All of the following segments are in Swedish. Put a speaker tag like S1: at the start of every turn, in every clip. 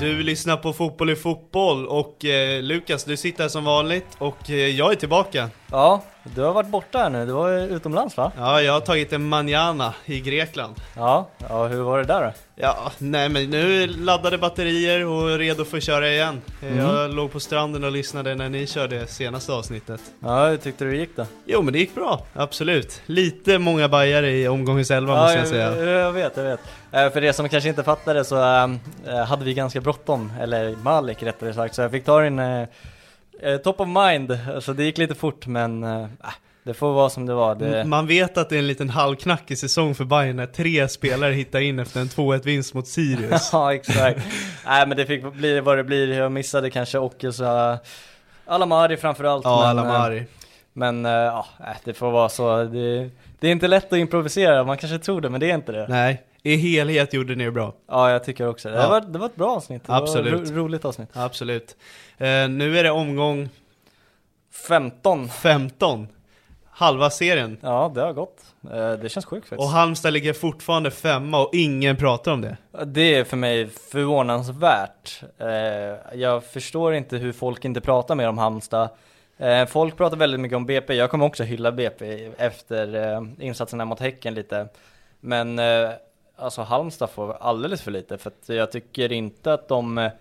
S1: Du lyssnar på Fotboll i fotboll och eh, Lukas, du sitter här som vanligt och eh, jag är tillbaka.
S2: Ja, du har varit borta här nu. Du var ju utomlands va?
S1: Ja, jag har tagit en manjana i Grekland.
S2: Ja, ja hur var det där då?
S1: Ja, nej men nu laddade batterier och är redo för att köra igen.
S2: Mm.
S1: Eh, Jag låg på stranden och lyssnade när ni körde senaste avsnittet.
S2: Ja, hur tyckte du det gick då?
S1: Jo men det gick bra, absolut. Lite många bajare i omgångens elva måste jag säga.
S2: jag, jag vet, jag vet. Eh, För de som kanske inte fattade så eh, eh, hade vi ganska bråttom, eller Malik rättare sagt, så jag fick ta in eh, eh, top of mind. Så det gick lite fort men eh, ah, det får vara som det var. Det,
S1: Man vet att det är en liten halvknackig säsong för Bayern när tre spelare hittar in efter en 2-1 vinst mot Sirius.
S2: ja, exakt. Nej men det fick bli vad det blir. Jag missade kanske Ockels Alamari framförallt.
S1: Ja,
S2: men, eh,
S1: Alamari.
S2: Men eh, ja, äh, det får vara så. Det, det är inte lätt att improvisera, man kanske tror det men det är inte det.
S1: Nej, i helhet gjorde ni det bra.
S2: Ja, jag tycker också det.
S1: Ja.
S2: Det, var, det var ett bra avsnitt. Det
S1: Absolut.
S2: Var ro, roligt avsnitt.
S1: Absolut. Eh, nu är det omgång
S2: 15.
S1: 15, halva serien.
S2: Ja, det har gått. Eh, Det känns sjukt faktiskt.
S1: Och Halmstad ligger fortfarande femma och ingen pratar om det.
S2: Det är för mig förvånansvärt. Eh, Jag förstår inte hur folk inte pratar mer om Halmstad. Eh, Folk pratar väldigt mycket om BP, jag kommer också hylla BP efter eh, insatserna mot Häcken lite. Men eh, alltså Halmstad får alldeles för lite för att jag tycker inte att de eh,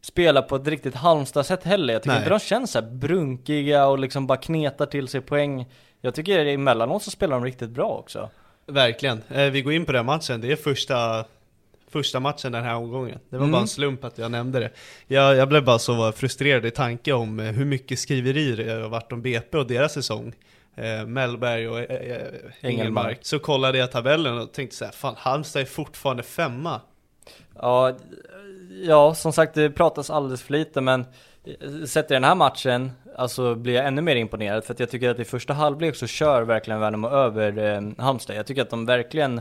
S2: spelar på ett riktigt Halmstad-sätt heller. Jag tycker
S1: Nej.
S2: inte de känns så här brunkiga och liksom bara knetar till sig poäng. Jag tycker emellanåt så spelar de riktigt bra också.
S1: Verkligen. Eh, vi går in på den matchen, det är första, första matchen den här omgången. Det var bara en slump att jag nämnde det. Jag, jag blev bara så frustrerad i tanke om eh, hur mycket skriverier det har varit om BP och deras säsong. Eh, Mellberg och eh, eh, Engelmark.
S2: Engelmark.
S1: Så kollade jag tabellen och tänkte så här, fan Halmstad är fortfarande femma.
S2: Ja, ja, som sagt det pratas alldeles för lite men sett i den här matchen alltså blir jag ännu mer imponerad för att jag tycker att i första halvlek så kör verkligen Värnamo över eh, Halmstad. Jag tycker att de verkligen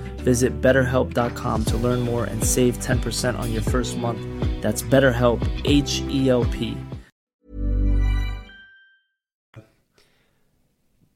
S3: Visit betterhelp.com to learn more and save 10% on your first month. That's BetterHelp, H E L P.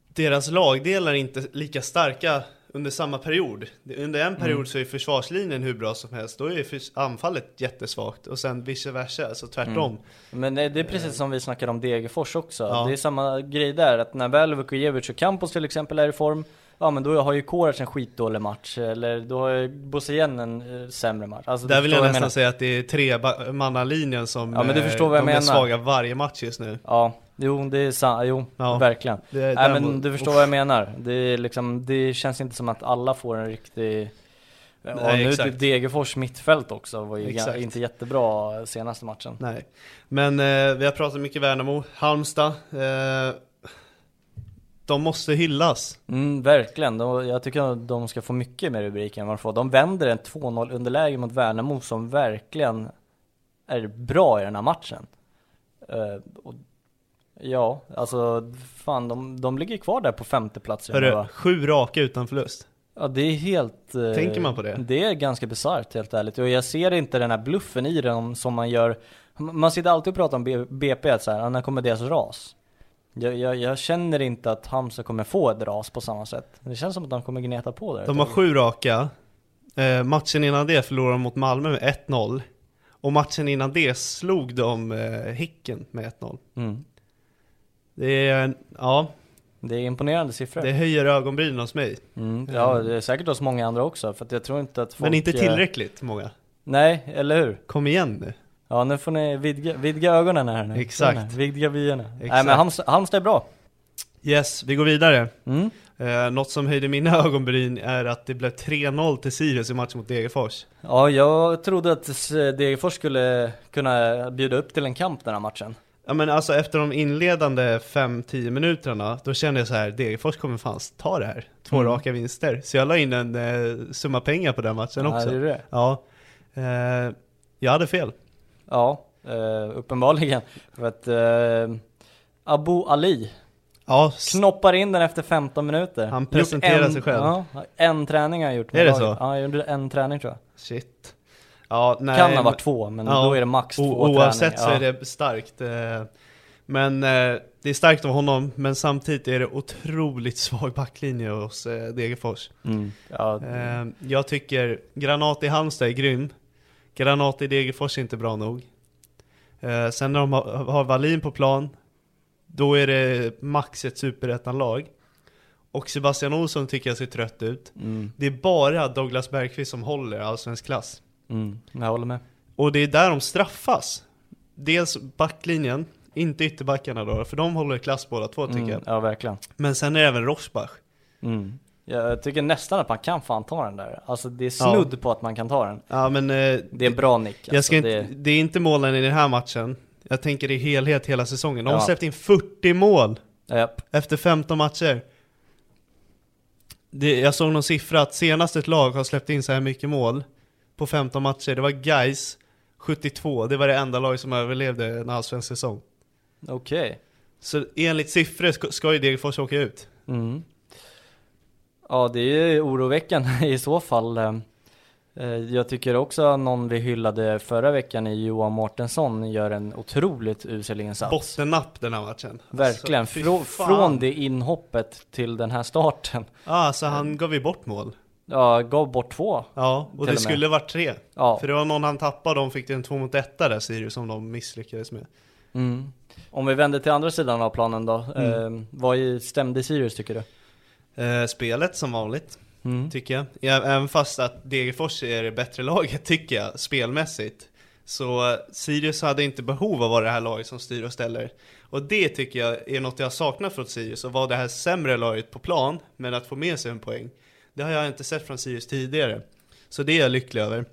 S1: deras lagdelar är inte lika starka under samma period. Under en period
S2: Mm.
S1: så är försvarslinjen hur bra som helst, då är förs- anfallet jättesvagt och sen vice versa, alltså tvärtom.
S2: Mm. Men det det är precis som vi snackade om Degerfors också.
S1: Eh. Ja.
S2: Det är samma grej där, att när väl Vukojevic och Campos till exempel är i form, ja men då har ju Korac en skitdålig match, eller då har ju Bosén en eh, sämre match. Alltså, du
S1: Där vill
S2: förstår
S1: jag nästan
S2: vad menar.
S1: säga att det är tremannalinjen som
S2: Ja, men du
S1: eh,
S2: förstår vad jag
S1: de är
S2: menar.
S1: svaga varje match just nu.
S2: Ja, jo det är sant, jo
S1: Ja.
S2: verkligen.
S1: Det är
S2: Nej
S1: där
S2: men
S1: mot-
S2: du förstår vad jag menar. Det, är liksom, det känns inte som att alla får en riktig Ja,
S1: Nej,
S2: nu
S1: exakt.
S2: typ Degerfors mittfält också var ju
S1: Exakt.
S2: ga- inte jättebra senaste matchen.
S1: Nej. Men eh, vi har pratat mycket Värnamo, Halmstad. Eh, de måste hyllas.
S2: Mm, verkligen, de, jag tycker att de ska få mycket mer rubrik än vad de får. De vänder en 2-0 underläge mot Värnamo som verkligen är bra i den här matchen. Eh, och, ja, alltså fan de, de ligger kvar där på femte plats redan,
S1: Hörru,
S2: va?
S1: sju raka utan förlust.
S2: Ja det är helt... eh,
S1: Tänker man på det?
S2: Det är ganska bisarrt helt ärligt. Och jag ser inte den här bluffen i den som man gör. Man sitter alltid och pratar om B- BP, att så här, "Ah, när kommer deras ras? Jag, jag, jag känner inte att Halmstad kommer få ett ras på samma sätt. Det känns som att de kommer gneta på där.
S1: De har sju raka. Eh, matchen innan det förlorade de mot Malmö med 1-0. Och matchen innan det slog de eh, Häcken med 1-0.
S2: mm.
S1: Det är, en- ja,
S2: Det är imponerande siffror.
S1: det höjer ögonbrynen hos mig.
S2: Mm. Ja, det är säkert hos många andra också. För att jag tror inte att folk...
S1: Men inte
S2: eh,
S1: tillräckligt många.
S2: Nej, eller hur?
S1: Kom igen nu.
S2: Ja, nu får ni vidga, vidga ögonen här nu.
S1: Exakt.
S2: Vidga vyerna. Nej
S1: Exakt.
S2: men Halmstad, Halmstad är bra.
S1: Yes, vi går vidare.
S2: Mm.
S1: Eh, något som höjde mina ögonbryn är att det blev 3-0 till Sirius i matchen mot Degerfors.
S2: Ja, jag trodde att S- Degerfors skulle kunna bjuda upp till en kamp den här matchen.
S1: Ja men alltså efter de inledande 5-10 minuterna, då kände jag så här, Degerfors kommer fan ta det här. Två
S2: Mm.
S1: raka vinster. Så jag la in en eh, summa pengar på den matchen
S2: Ja,
S1: också.
S2: det är det.
S1: Ja, eh, jag hade fel.
S2: Ja, eh, uppenbarligen. För att eh, Abu Ali
S1: Ja, s-
S2: knoppar in den efter 15 minuter.
S1: Han
S2: Gjort
S1: presenterar
S2: en,
S1: sig själv.
S2: Ja, en träning har han gjort. med
S1: Är det
S2: laget.
S1: så?
S2: Ja, han gjorde en träning tror jag.
S1: shit. Ja, nej,
S2: kan ha
S1: men-
S2: varit två, men
S1: Ja,
S2: då är det max två
S1: o- Oavsett
S2: träningar.
S1: så är
S2: ja.
S1: det starkt. eh, Men eh, det är starkt av honom, men samtidigt är det otroligt svag backlinje hos eh, Degerfors.
S2: Mm. Ja,
S1: Eh, Jag tycker Granat i Halmstad är grym. Granat i Degerfors är inte bra nog. Eh, Sen när de har- har Wallin på plan, då är det max ett superettan-lag. Och Sebastian Olsson tycker jag ser trött ut. Det är bara Douglas Bergqvist som håller allsvensk klass.
S2: Mm, jag håller med.
S1: Och det är där de straffas. Dels backlinjen, inte ytterbackarna då, för de håller klass båda två tycker jag.
S2: Mm. Ja, verkligen.
S1: Men sen är det även Rosbach.
S2: Mm. Jag tycker nästan att man kan fan ta den där. Alltså det är snudd på att man kan ta den.
S1: Ja men eh,
S2: Det är en bra nick.
S1: jag ska
S2: alltså,
S1: inte, det är inte målen i den här matchen. Jag tänker i helhet hela säsongen. De har
S2: Ja.
S1: släppt in 40 mål
S2: det, Japp.
S1: efter 15 matcher. Det, jag såg någon siffra att senast ett lag har släppt in så här mycket mål på 15 matcher, det var Gais 72. Det var det enda lag som överlevde en allsvensk säsong.
S2: Okej.
S1: Så enligt siffror ska- ska ju Degerfors åka ut.
S2: Mm. Ja, det är ju oroväckande i så fall. Eh, Jag tycker också någon vi hyllade förra veckan i Johan Mårtensson gör en otroligt usel insats.
S1: Alltså, Bottennapp den här matchen.
S2: Verkligen,
S1: Alltså, fy
S2: Frå-
S1: fan.
S2: från det inhoppet till den här starten.
S1: Ja, så han gav ju bort mål.
S2: Ja, gav bort två.
S1: Ja, och
S2: Till
S1: det
S2: och med.
S1: skulle varit tre.
S2: Ja.
S1: För det var någon han tappade och de fick en två mot etta där Sirius som de misslyckades med.
S2: Mm. Om vi vänder till andra sidan av planen då.
S1: Mm.
S2: Eh, vad i- stämde Sirius tycker du?
S1: Eh, spelet som vanligt,
S2: Mm.
S1: tycker jag. Ja, Även fast att Degerfors är det bättre laget, tycker jag, spelmässigt. Så eh, Sirius hade inte behov av att vara det här laget som styr och ställer. Och det tycker jag är något jag har saknat från Sirius, att vara det här sämre laget på plan, men att få med sig en poäng. Det har jag inte sett från Sirius tidigare. Så det är jag lycklig över.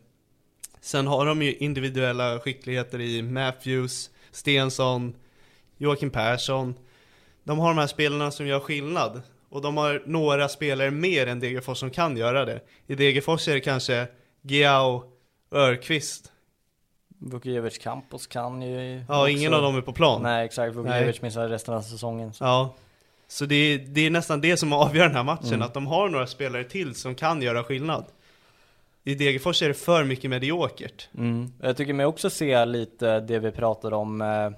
S1: Sen har de ju individuella skickligheter i Matthews, Stensson, Joakim Persson. De har de här spelarna som gör skillnad. Och de har några spelare mer än Degerfors som kan göra det. I Degerfors är det kanske Giao och Örqvist.
S2: Vukijevic Campos kan ju
S1: Ja,
S2: också-
S1: ingen av dem är på plan.
S2: Nej, exakt. Vukijevic missar resten av säsongen. Så.
S1: Ja. Så det är, det är nästan det som avgör den här matchen,
S2: Mm.
S1: att de har några spelare till som kan göra skillnad. I Degerfors är det för mycket mediokert.
S2: Mm. Jag tycker mig också se lite det vi pratade om, eh,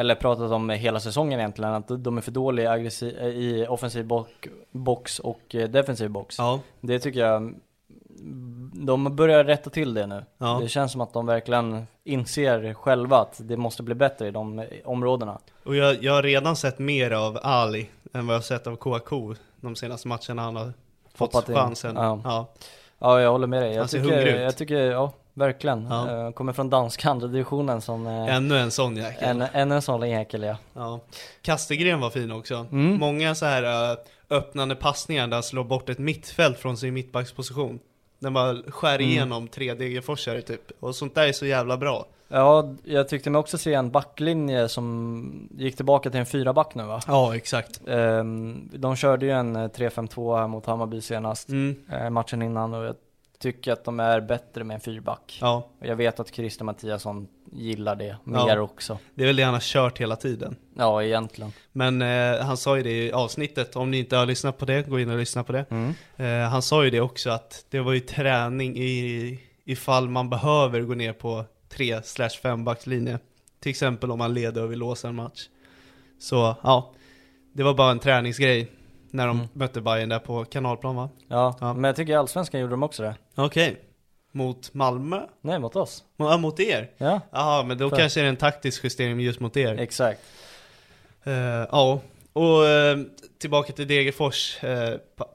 S2: eller pratat om hela säsongen egentligen, att de är för dåliga i aggressi- eh, i offensiv bok- box och eh, defensiv box.
S1: Ja.
S2: Det tycker jag, mm, de börjar rätta till det nu.
S1: Ja.
S2: Det känns som att de verkligen inser själva att det måste bli bättre i de eh, områdena.
S1: Och jag, jag har redan sett mer av Ali än vad jag har sett av KK de senaste matcherna han har fått
S2: Hoppat in.
S1: chansen.
S2: Ja.
S1: Ja.
S2: Ja, jag håller med dig. Jag
S1: Han ser
S2: tycker,
S1: hungrig ut.
S2: jag tycker, ja, verkligen.
S1: Ja.
S2: Eh, Kommer från danska andra divisionen som eh,
S1: Ännu en sån jäkel.
S2: en, en, en sån jäkel ja.
S1: Ja. Kastegren var fin också. Många så här äh, öppnande passningar där han slår bort ett mittfält från sin mittbacksposition. Den bara skär igenom tre Degerforsare typ. Och sånt där är så jävla bra.
S2: Ja, jag tyckte mig också se en backlinje som gick tillbaka till en fyraback nu va?
S1: Ja, exakt.
S2: Ehm, De körde ju en eh, 3-5-2 här mot Hammarby senast,
S1: Mm.
S2: eh, matchen innan och jag tycker att de är bättre med en fyrback.
S1: Ja,
S2: Och Jag vet att Christer Mattiasson gillar det
S1: Ja.
S2: mer också.
S1: det är väl det han har kört hela tiden.
S2: Ja, egentligen.
S1: Men eh, han sa ju det i avsnittet, om ni inte har lyssnat på det, gå in och lyssna på det. Eh, han sa ju det också att det var ju träning i, ifall man behöver gå ner på 3 5 backslinje. Till exempel om man leder och vill låsa en match. Så ja, det var bara en träningsgrej när de mötte Bayern där på kanalplan va?
S2: Ja,
S1: Ja.
S2: men jag tycker i Allsvenskan gjorde de också det.
S1: Okej, mot Malmö?
S2: Nej, mot oss.
S1: Ja, mot er?
S2: Ja,
S1: Jaha, men då
S2: För-
S1: kanske det är en taktisk justering just mot er.
S2: exakt.
S1: Eh, ja, och eh, tillbaka till Degerfors. Uh,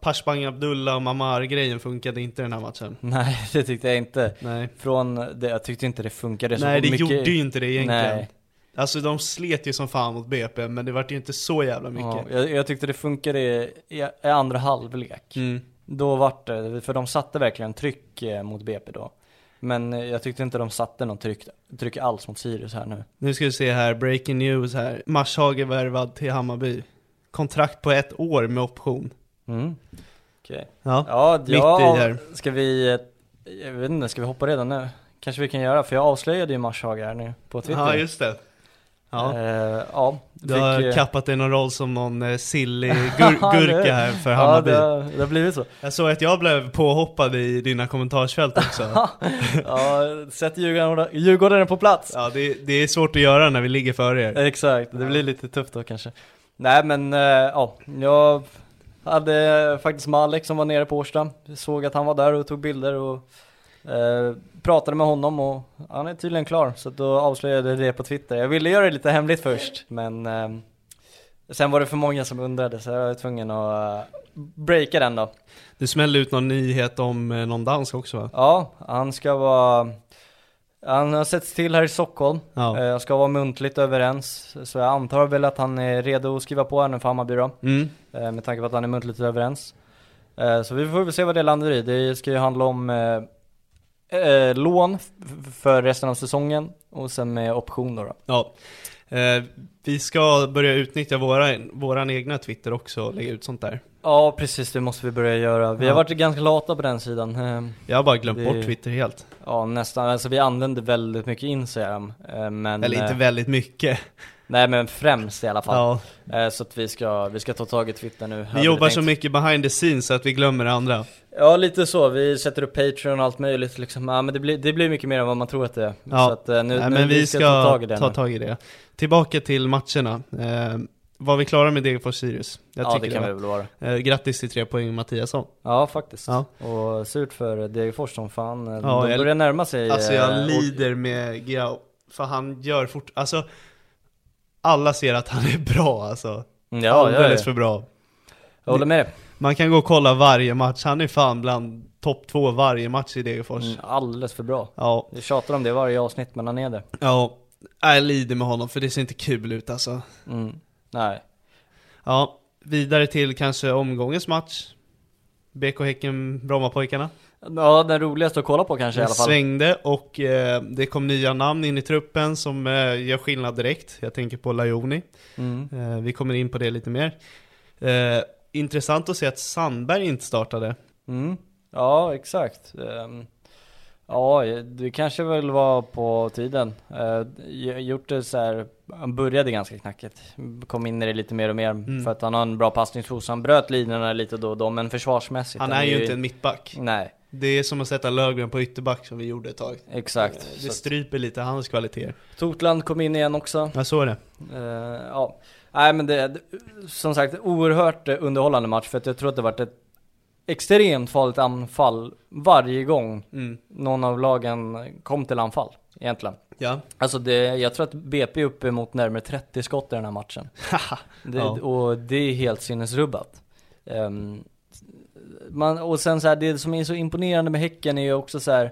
S1: Pashbang Abdullah och Mamar-grejen funkade inte den här matchen.
S2: Nej, det tyckte jag inte.
S1: Nej,
S2: Från det, jag tyckte inte det funkade så
S1: Nej det
S2: mycket.
S1: gjorde ju inte det egentligen.
S2: Nej.
S1: Alltså de slet ju som fan mot BP, men det vart ju inte så jävla mycket.
S2: Ja, jag, jag tyckte det funkade i, i i andra halvlek.
S1: Mm.
S2: Då vart det, för de satte verkligen tryck eh, mot BP då. Men eh, jag tyckte inte de satte något tryck, tryck alls mot Sirius här nu.
S1: Nu ska vi se här, breaking news här. Marshage värvad till Hammarby. Kontrakt på ett år med option.
S2: Mm. Okej.
S1: Ja,
S2: Ja,
S1: mitt i
S2: ja
S1: här.
S2: ska vi, eh, jag vet inte, ska vi hoppa redan nu? Kanske vi kan göra, för jag avslöjade ju Marshaga här nu på Twitter.
S1: Ja, just det. Ja.
S2: Eh, ja,
S1: Du
S2: fick,
S1: har
S2: eh,
S1: kappat dig någon roll som någon eh, sillig gur-
S2: Ja,
S1: gurka
S2: det-
S1: här för
S2: Ja,
S1: Hammarby.
S2: det, har- det har blivit så.
S1: Jag såg att jag blev påhoppad i dina kommentarsfält också.
S2: Ja, sätt Djurgården, Djurgården på plats.
S1: Ja, det, det är svårt att göra när vi ligger före er.
S2: Exakt, det blir lite tufft då kanske. Nej men eh, ja, jag hade faktiskt Malek som var nere på Årsta, Jag såg att han var där och tog bilder och eh, pratade med honom och han är tydligen klar så att då avslöjade jag det på Twitter. Jag ville göra det lite hemligt först men eh, Sen var det för många som undrade så jag var tvungen att eh, breaka den då.
S1: Du smällde ut någon nyhet om eh, någon dansk också va?
S2: Ja, han ska vara... Han har setts till här i Stockholm,
S1: Ja.
S2: eh, ska vara muntligt överens. Så jag antar väl att han är redo att skriva på här nu för Hammarby då.
S1: Mm.
S2: Eh, med tanke på att han är muntligt överens. Eh, så vi får väl se vad det landar i. Det ska ju handla om eh, eh, lån f- f- för resten av säsongen och sen med option då. då.
S1: Ja. Eh, vi ska börja utnyttja våra, våran egna Twitter också och lägga ut sånt där.
S2: Ja precis, det måste vi börja göra. Vi har
S1: Ja.
S2: varit ganska lata på den sidan. Eh,
S1: Jag har bara glömt
S2: Det-
S1: bort Twitter helt.
S2: ja nästan, alltså vi använder väldigt mycket Instagram. Eh, men,
S1: Eller inte
S2: eh,
S1: väldigt mycket.
S2: nej men främst i alla fall.
S1: Ja.
S2: Eh, så att vi ska, vi ska ta tag i Twitter nu. hade
S1: Vi jobbar
S2: tänkt.
S1: så mycket behind the scenes så att vi glömmer det andra.
S2: Ja lite så, vi sätter upp Patreon och allt möjligt liksom. Ja men det blir, det blir mycket mer än vad man tror att det är.
S1: Ja.
S2: Så att eh, nu,
S1: Nej,
S2: nu
S1: men vi ska ta tag i det.
S2: nu.
S1: Tillbaka till matcherna. Eh, var vi klara med Degerfors-Sirius? Jag
S2: ja,
S1: tycker
S2: det kan
S1: va?
S2: vi väl vara.
S1: Eh, grattis till tre poäng Mattiasson.
S2: Ja, faktiskt.
S1: Ja.
S2: Och surt för Degerfors som fan. De
S1: Ja, jag-
S2: börjar närma sig.
S1: Alltså jag
S2: eh,
S1: lider med Giao, för han gör fort, alltså alla ser att han är bra alltså.
S2: Och... Ja, ja, ja.
S1: Alldeles för bra.
S2: Jag håller med dig.
S1: Man kan gå och kolla varje match, han är fan bland topp två varje match i Degerfors.
S2: Mm, Alldeles för bra.
S1: Ja,
S2: Vi tjatar om det i varje avsnitt, men han är det.
S1: ja, jag lider med honom för det ser inte kul ut alltså.
S2: Mm. Nej.
S1: Ja, vidare till kanske omgångens match. BK Häcken, Brommapojkarna.
S2: Ja, den roligaste att kolla på kanske i
S1: Det
S2: alla fall.
S1: svängde och eh, det kom nya namn in i truppen som eh, gör skillnad direkt. Jag tänker på Lajoni.
S2: Mm.
S1: Eh, vi kommer in på det lite mer. Eh, intressant att se att Sandberg inte startade.
S2: Mm. Ja, exakt. Ehm, Ja, det kanske väl var på tiden. Eh, jag- Gjort det så här, han började ganska knackigt. Kom in i det lite mer och mer
S1: Mm.
S2: för att han har en bra passningsfot. så Han bröt linjerna lite då och då, men försvarsmässigt.
S1: Han är ju inte en mittback.
S2: Nej,
S1: Det är som att sätta Lögren på ytterback som vi gjorde ett tag.
S2: exakt.
S1: Eh,
S2: Så
S1: Det
S2: att-
S1: stryper lite hans kvaliteter.
S2: Totland kom in igen också.
S1: Ja, så är det.
S2: Eh, ja. Nej men det, det, som sagt, oerhört eh, underhållande match för att jag tror att det varit ett extremt farligt anfall varje gång
S1: Mm.
S2: någon av lagen kom till anfall egentligen.
S1: Ja.
S2: Alltså det, jag tror att BP är uppe mot närmare 30 skott i den här matchen. det,
S1: Ja.
S2: Och det är helt sinnesrubbat. Ehm, man, och sen så här, det som är så imponerande med Häcken är ju också så här.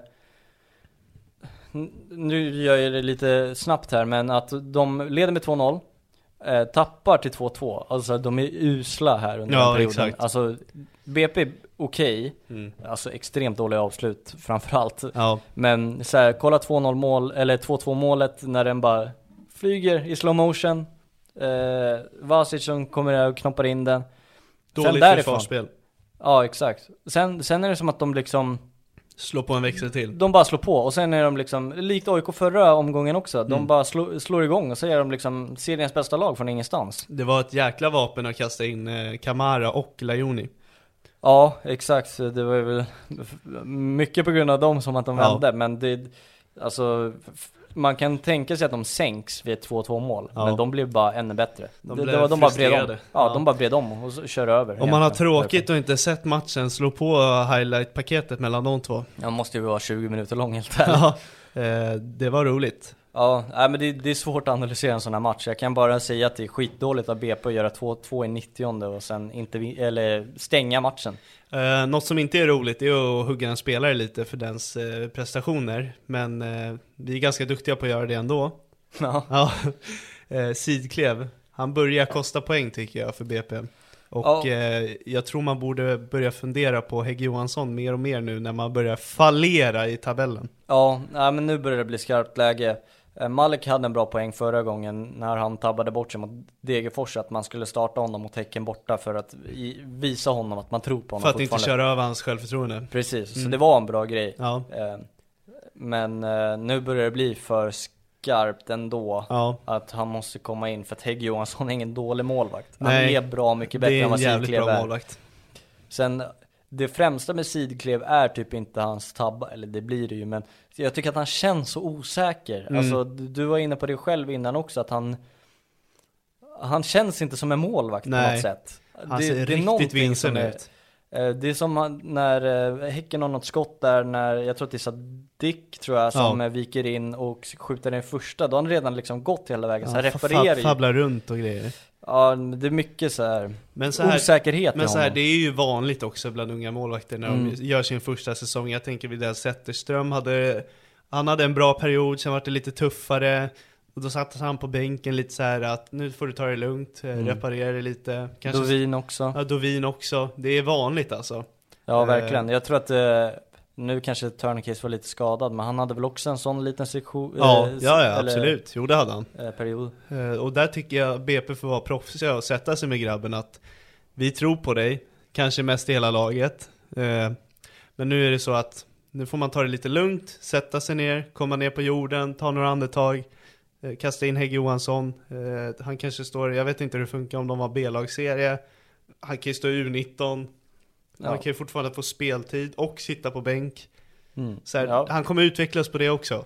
S2: n- Nu gör jag det lite snabbt här, men att de leder med 2-0. Eh, tappar till 2-2, alltså de är usla här under
S1: Ja,
S2: den perioden.
S1: exakt.
S2: Alltså BP är okej,
S1: Mm.
S2: alltså extremt dåliga avslut framförallt.
S1: Ja.
S2: Men så här, kolla 2-0 mål, eller 2-2 målet när den bara flyger i slow motion. Eh, Vasic som kommer där och knoppar in den.
S1: Dåligt
S2: därifrån.
S1: försvarsspel.
S2: Ja, exakt. Sen, sen är det som att de liksom,
S1: Slå på en växel till.
S2: de bara slår på och sen är de liksom, likt AIK förra omgången också, de bara slår, slår igång och så är de liksom seriens bästa lag från ingenstans.
S1: Det var ett jäkla vapen att kasta in eh, Kamara och Lajoni.
S2: Ja, exakt. Det var väl mycket på grund av dem som att de
S1: Ja.
S2: vände, men det, alltså, f- man kan tänka sig att de sänks vid ett 2-2 mål,
S1: Ja.
S2: men de blev bara ännu bättre.
S1: De
S2: det,
S1: blev
S2: det var, de bara bred om. Ja,
S1: frustrerade. Ja.
S2: de bara bred om och så, kör över.
S1: Om man har
S2: egentligen.
S1: tråkigt och inte sett matchen, slå på highlight-paketet mellan de två.
S2: Den måste ju vara 20 minuter lång helt ärligt.
S1: Ja, eh, det var roligt.
S2: Ja, nej, men det, det är svårt att analysera en sån här match. Jag kan bara säga att det är skitdåligt av BP att göra 2-2 i 90 och sen inte, vi- eller stänga matchen.
S1: Eh, något som inte är roligt är att hugga en spelare lite för dens eh, prestationer, men eh, vi är ganska duktiga på att göra det ändå.
S2: Ja.
S1: Ja. Eh, Sidklev, han börjar kosta poäng tycker jag för BP. Och
S2: Ja.
S1: eh, jag tror man borde börja fundera på Hägg Johansson mer och mer nu när man börjar fallera i tabellen.
S2: Ja, nej, men nu börjar det bli skarpt läge. Eh, Malik hade en bra poäng förra gången när han tabbade bort sig mot Degerfors att man skulle starta honom mot Häcken borta för att i- visa honom att man tror på honom
S1: För att inte
S2: fortfarande.
S1: köra över hans självförtroende.
S2: Precis, så
S1: Mm.
S2: det var en bra grej.
S1: Ja,
S2: Eh, Men eh, nu börjar det bli för skarpt ändå
S1: ja.
S2: att han måste komma in för att Hägg Johansson är ingen dålig målvakt. Han
S1: Nej,
S2: är bra mycket
S1: Det
S2: bättre
S1: är
S2: än
S1: en
S2: vad
S1: jävligt
S2: Sidklev
S1: bra
S2: är.
S1: målvakt.
S2: Sen det främsta med Sidklev är typ inte hans tabba, eller det blir det ju men jag tycker att han känns så osäker.
S1: Mm.
S2: Alltså du du var inne på det själv innan också att han han känns inte som en målvakt på
S1: Nej.
S2: något sätt.
S1: Han ser
S2: är
S1: Alltså, riktigt
S2: någonting som
S1: vilsen
S2: är-
S1: ut.
S2: Eh, Det är som han- när eh, Häcken har något skott där när, jag tror att det är Sadiq tror jag, som
S1: Ja.
S2: eh, viker in och skjuter den första. Då har han redan liksom gått hela vägen, så
S1: Ja,
S2: han
S1: fa- fa-
S2: reparerar ju.
S1: Fabblar runt och grejer.
S2: Ja, det är mycket så här,
S1: Men så här,
S2: osäkerhet i
S1: men så här,
S2: honom.
S1: det är ju vanligt också bland unga målvakter när
S2: Mm.
S1: de gör sin första säsong. Jag tänker vid Zetterström hade, han hade en bra period, sen var det lite tuffare. Och då sattes han på bänken lite så här att nu får du ta det lugnt, eh, reparera det lite. Kanske
S2: Mm. Dovin också.
S1: Ja, Dovin också. Det är vanligt alltså.
S2: Ja,
S1: Eh.
S2: verkligen. Jag tror att eh, nu kanske Turnquist var lite skadad, men han hade väl också en sån liten sektion?
S1: Ja, ja, ja
S2: Eh, eller,
S1: absolut. Jo, det hade han.
S2: eh, period.
S1: Eh, Och där tycker jag BP får vara proffsiga och sätta sig med grabben att vi tror på dig, kanske mest i hela laget. Eh, Men nu är det så att nu får man ta det lite lugnt, sätta sig ner, komma ner på jorden, ta några andetag, eh, kasta in Hägg Johansson. Eh, Han kanske står, jag vet inte hur det funkar om de har B-lagsserie, han kan ju stå i U19,
S2: Ja.
S1: han kan ju fortfarande få speltid och sitta på bänk.
S2: Mm.
S1: Så här,
S2: Ja.
S1: Han kommer utvecklas på det också.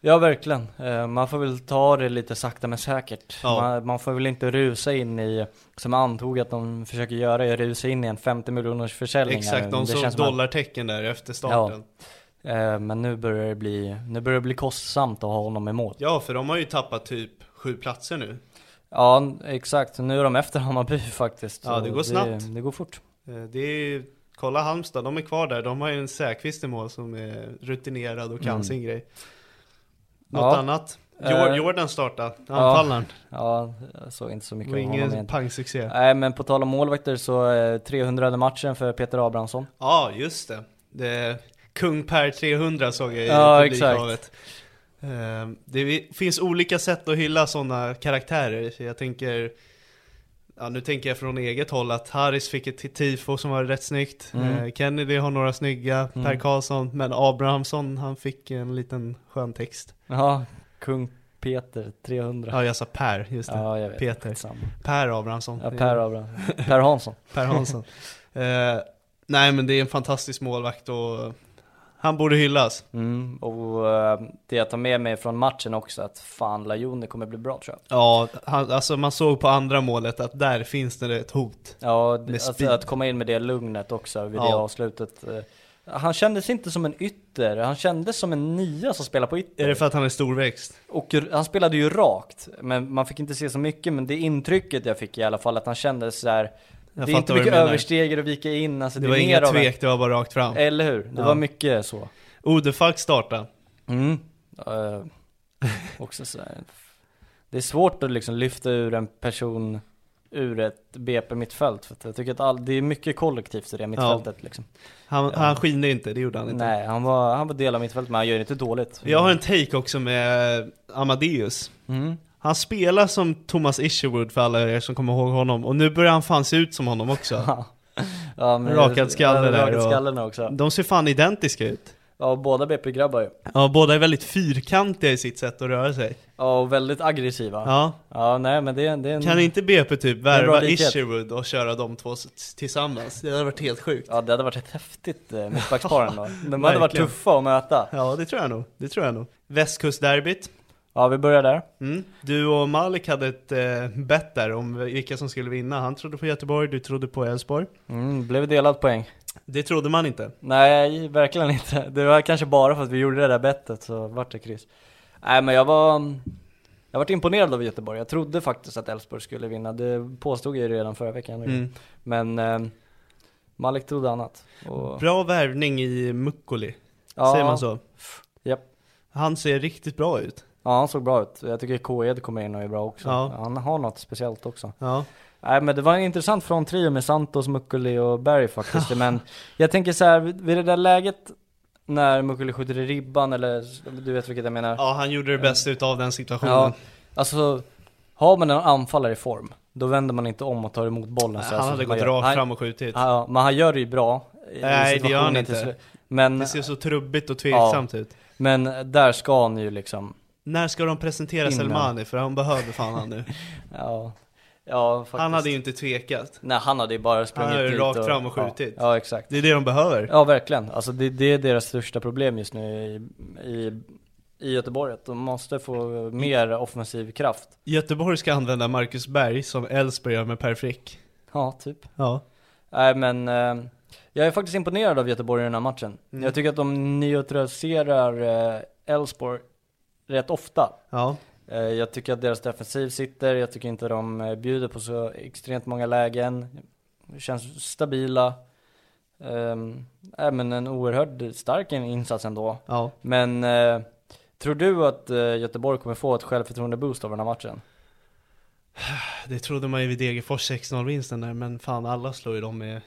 S2: Ja, verkligen. Eh, Man får väl ta det lite sakta men säkert.
S1: Ja.
S2: Man, man får väl inte rusa in i, som jag antog att de försöker göra, är rusa in i en 50 miljoners försäljning. här.
S1: Exakt, de
S2: Det
S1: såg
S2: känns som att-
S1: dollartecken där efter starten.
S2: eh, Men nu börjar det bli, nu börjar det bli kostsamt att ha honom i mål.
S1: Ja, för de har ju tappat typ sju platser nu.
S2: Ja, exakt. Nu är de efter Hammarby faktiskt.
S1: Ja, det
S2: Så
S1: går snabbt.
S2: Det går fort.
S1: Eh, Det är ju, kolla Halmstad, de är kvar där. De har ju en Säfqvist i mål som är rutinerad och kan
S2: Mm.
S1: sin grej. Något
S2: Ja.
S1: annat? Jor-
S2: Eh.
S1: Jordan starta, anfallaren.
S2: Ja, jag såg inte så mycket
S1: Och
S2: av honom
S1: ingen
S2: egentligen.
S1: pangsuccé. Ja,
S2: Nej men på tal om målvakter så eh, 300 matchen för Peter Abrahamsson.
S1: just det. det. Kung Per 300 såg jag i
S2: Ja,
S1: publikhavet. Eh, Det vi- finns olika sätt att hylla sådana karaktärer. Så Jag tänker, ja, nu tänker jag från eget håll att Harris fick ett tifo som var rätt snyggt.
S2: Mm.
S1: Eh, Kennedy har några snygga, Per Karlsson, men Abrahamsson han fick en liten skön text.
S2: Ja, kung Peter 300.
S1: Ja jag sa Per, just det.
S2: Ja, jag vet.
S1: Peter.
S2: Skitsamma.
S1: Per Abrahamsson.
S2: Ja, per Abrahamsson. Per Hansson.
S1: Per Hansson. eh, nej men det är en fantastisk målvakt och han borde hyllas.
S2: Mm, och eh, det jag tar med mig från matchen också att fan Lajoni kommer bli bra tror jag.
S1: Ja, han, alltså man såg på andra målet att där finns det ett hot.
S2: Ja,
S1: Med
S2: alltså,
S1: speed.
S2: att komma in med det lugnet också vid det
S1: Ja.
S2: avslutet. eh. Han kändes inte som en ytter, han kändes som en nia som spelar på ytter.
S1: Är det för att han är storväxt?
S2: Och r- han spelade ju rakt, men man fick inte se så mycket, men det intrycket jag fick i alla fall att han kände så här.
S1: Jag
S2: det är
S1: fattar
S2: inte
S1: vad du
S2: mycket
S1: menar.
S2: översteger och vika in, alltså
S1: Det
S2: det,
S1: var
S2: är mer
S1: inga
S2: av en- Eh.
S1: tvek, det var bara rakt fram.
S2: Eller hur? Det
S1: Ja.
S2: var mycket så.
S1: Odefalk starta.
S2: Mm. Eh, också så här. Det är svårt att liksom lyfta ur en person ur ett BP-mittfält, för att jag tycker att all, det är mycket kollektivt i det mittfältet liksom.
S1: Han, han skiner inte, det gjorde han inte.
S2: Nej, han var, han var del av mittfältet, men han gör det inte dåligt.
S1: Jag har en take också med eh, Amadeus.
S2: Mm.
S1: Han spelar som Thomas Isherwood för alla er som kommer ihåg honom, och nu börjar han fan se ut som honom också.
S2: Ja, men-
S1: Rakad skalle
S2: ja,
S1: där
S2: Rakad
S1: och-
S2: skallen också.
S1: De ser fan identiska ut.
S2: Ja, båda BP-grabbar ju.
S1: Ja, båda är väldigt fyrkantiga i sitt sätt att röra sig.
S2: Ja, och väldigt aggressiva. Ja,
S1: Ja.
S2: nej men det, är- det är en...
S1: Kan inte BP typ
S2: Mm. är en bra
S1: värva
S2: likhet.
S1: Isherwood och köra de två s- tillsammans? Det hade varit helt sjukt.
S2: Ja, det hade varit ett häftigt eh, mittbackspar ändå. De hade varit
S1: Verkligen.
S2: tuffa att möta.
S1: Ja, det tror jag nog. Det tror jag nog. Västkustderbyt.
S2: Ja, vi börjar där.
S1: Mm. Du och Malik hade ett eh, bett där om vilka som skulle vinna. Han trodde på Göteborg, du trodde på Elfsborg.
S2: Mm, blev delad poäng.
S1: Det trodde man inte.
S2: Nej, verkligen inte. Det var kanske bara för att vi gjorde det där bettet så vart det kryss. Nej, men jag var... Jag varit imponerad av Göteborg. Jag trodde faktiskt att Elfsborg skulle vinna. Det påstod jag ju redan förra veckan.
S1: Mm.
S2: Men eh, Malik trodde annat. Och,
S1: Bra värvning i Mukkoli,
S2: Ja.
S1: säger man så?
S2: Japp.
S1: Han ser riktigt bra ut.
S2: Ja, han såg bra ut. Jag tycker KED kommer in och är bra också.
S1: Ja.
S2: Han har något speciellt också.
S1: Ja.
S2: Nej men det var en intressant fråntrio med Santos, Mukkeli och Berg faktiskt. men jag tänker så här, vid vid det där läget när Mukkeli skjuter i ribban eller du vet vilket jag menar.
S1: ja, han gjorde det bästa utav den situationen.
S2: Ja, alltså har man en anfallare i form, då vänder man inte om och tar emot bollen. så här
S1: han
S2: som
S1: hade
S2: man
S1: gått
S2: gör.
S1: rakt
S2: alltså, Han-
S1: fram och skjutit.
S2: Ja, men han gör det ju bra. i
S1: Nej, det gör han
S2: situationen till
S1: inte.
S2: slut. Men,
S1: Det ser så trubbigt och tveksamt ut.
S2: men där ska han ju liksom
S1: När ska de presentera
S2: Innan.
S1: Selmani? För han behöver fan han nu.
S2: Ja, ja faktiskt.
S1: Han hade ju inte tvekat.
S2: Nej han hade ju bara sprungit
S1: Han hade
S2: dit
S1: rakt fram och skjutit.
S2: Ja, ja exakt.
S1: Det är det de behöver.
S2: Ja verkligen, alltså det, det är deras största problem just nu i, i, i Göteborg. Att de måste få mer offensiv kraft.
S1: Göteborg ska använda Marcus Berg som Elfsborg gör med Per Frick.
S2: Ja, typ.
S1: Ja.
S2: Nej men, eh, Jag är faktiskt imponerad av Göteborg i den här matchen. Jag tycker att de neutraliserar eh, Elfsborg rätt ofta.
S1: Ja,
S2: Eh, Jag tycker att deras defensiv sitter, jag tycker inte de eh, bjuder på så extremt många lägen. Känns stabila. Ehm, äh, men en oerhört stark in- insats ändå.
S1: ja.
S2: Men eh, tror du att eh, Göteborg kommer få ett självförtroende-boost av den här matchen?
S1: Det trodde man ju vid Degerfors 6-0-vinsten där, men fan alla slår ju dem med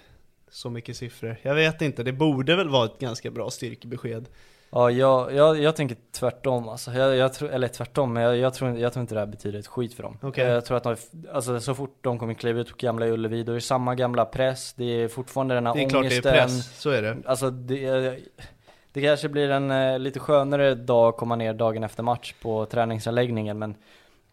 S1: så mycket siffror. Jag vet inte, det borde väl vara ett ganska bra styrkebesked.
S2: Ja, jag, jag, jag tänker tvärtom alltså. Jag, jag tror, eller tvärtom, men jag, jag, tror, inte- jag tror inte det här betyder ett skit för dem.
S1: Okej.
S2: Jag tror att de, alltså, så fort de kommer kliva ut på gamla Ullevi, då är det samma gamla press, det är fortfarande den här
S1: Det är
S2: ångesten.
S1: klart det är press, så är det.
S2: Alltså det, det kanske blir en eh, lite skönare dag att komma ner dagen efter match på träningsanläggningen men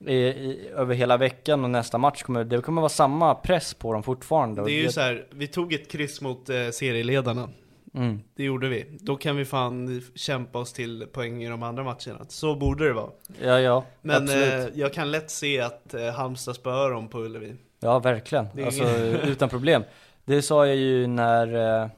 S2: i, i, över hela veckan och nästa match kommer det kommer vara samma press på dem fortfarande. och
S1: Det är ju
S2: det-
S1: så här, vi tog ett kryss mot eh, serieledarna.
S2: Mm.
S1: Det gjorde vi. Då kan vi fan kämpa oss till poäng i de andra matcherna. Så borde det vara.
S2: Ja, ja,
S1: Men
S2: absolut.
S1: eh, jag kan lätt se att eh, Halmstad spöar dem på Ullevi.
S2: Ja, verkligen.
S1: Det är
S2: Alltså,
S1: ingen-
S2: utan problem. Det sa jag ju när, eh,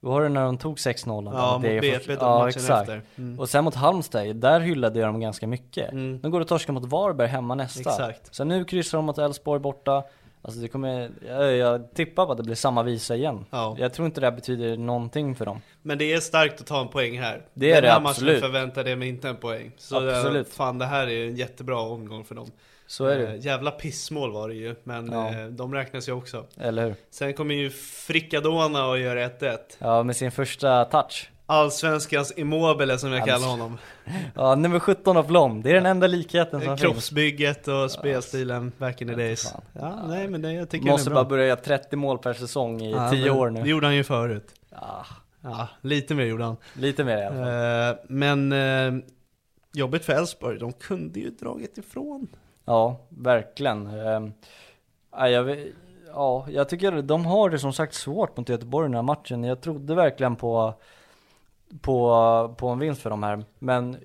S2: vad var det när de tog 6-0?
S1: Ja, mot
S2: Degerfors?
S1: BP då, matchen efter. Mm.
S2: Och sen mot Halmstad, där hyllade jag dem ganska mycket.
S1: Mm.
S2: De går och torskar mot Varberg hemma nästa.
S1: Exakt.
S2: Sen nu kryssar de mot Elfsborg borta. Alltså det kommer, jag, jag tippar på att det blir samma visa igen.
S1: Ja.
S2: Jag tror inte det här betyder någonting för dem.
S1: Men det är starkt att ta en poäng här.
S2: Det är
S1: Den
S2: det,
S1: här
S2: absolut.
S1: matchen förväntade jag mig inte en poäng. Så
S2: Absolut.
S1: eh, fan det här är en jättebra omgång för dem.
S2: Så är det
S1: Eh, jävla pissmål var det ju, men
S2: Ja.
S1: eh, de räknas ju också.
S2: Eller hur?
S1: Sen kommer ju Frickadona och gör 1-1.
S2: Ja, med sin första touch.
S1: Allsvenskans Immobile som jag
S2: Ja,
S1: kallar
S2: men-
S1: honom.
S2: Ja, nummer 17 av Blom. Det är den enda likheten som finns.
S1: Kroppsbygget och spelstilen back in the days.
S2: fan.
S1: Ja, nej men det, jag tycker
S2: Måste
S1: den är
S2: bara
S1: bra.
S2: börja göra 30 mål per säsong i 10
S1: men
S2: år
S1: Det
S2: nu.
S1: gjorde han ju förut.
S2: Ja,
S1: Ja, lite mer gjorde han.
S2: lite mer i alla fall.
S1: Eh, men eh, jobbigt för Elfsborg, de kunde ju dragit ifrån.
S2: Ja, verkligen. Ehm, ja, jag, vet- ja, jag tycker de har det som sagt svårt mot Göteborg i den här matchen. Jag trodde verkligen på, på, på en vinst för dem här. Men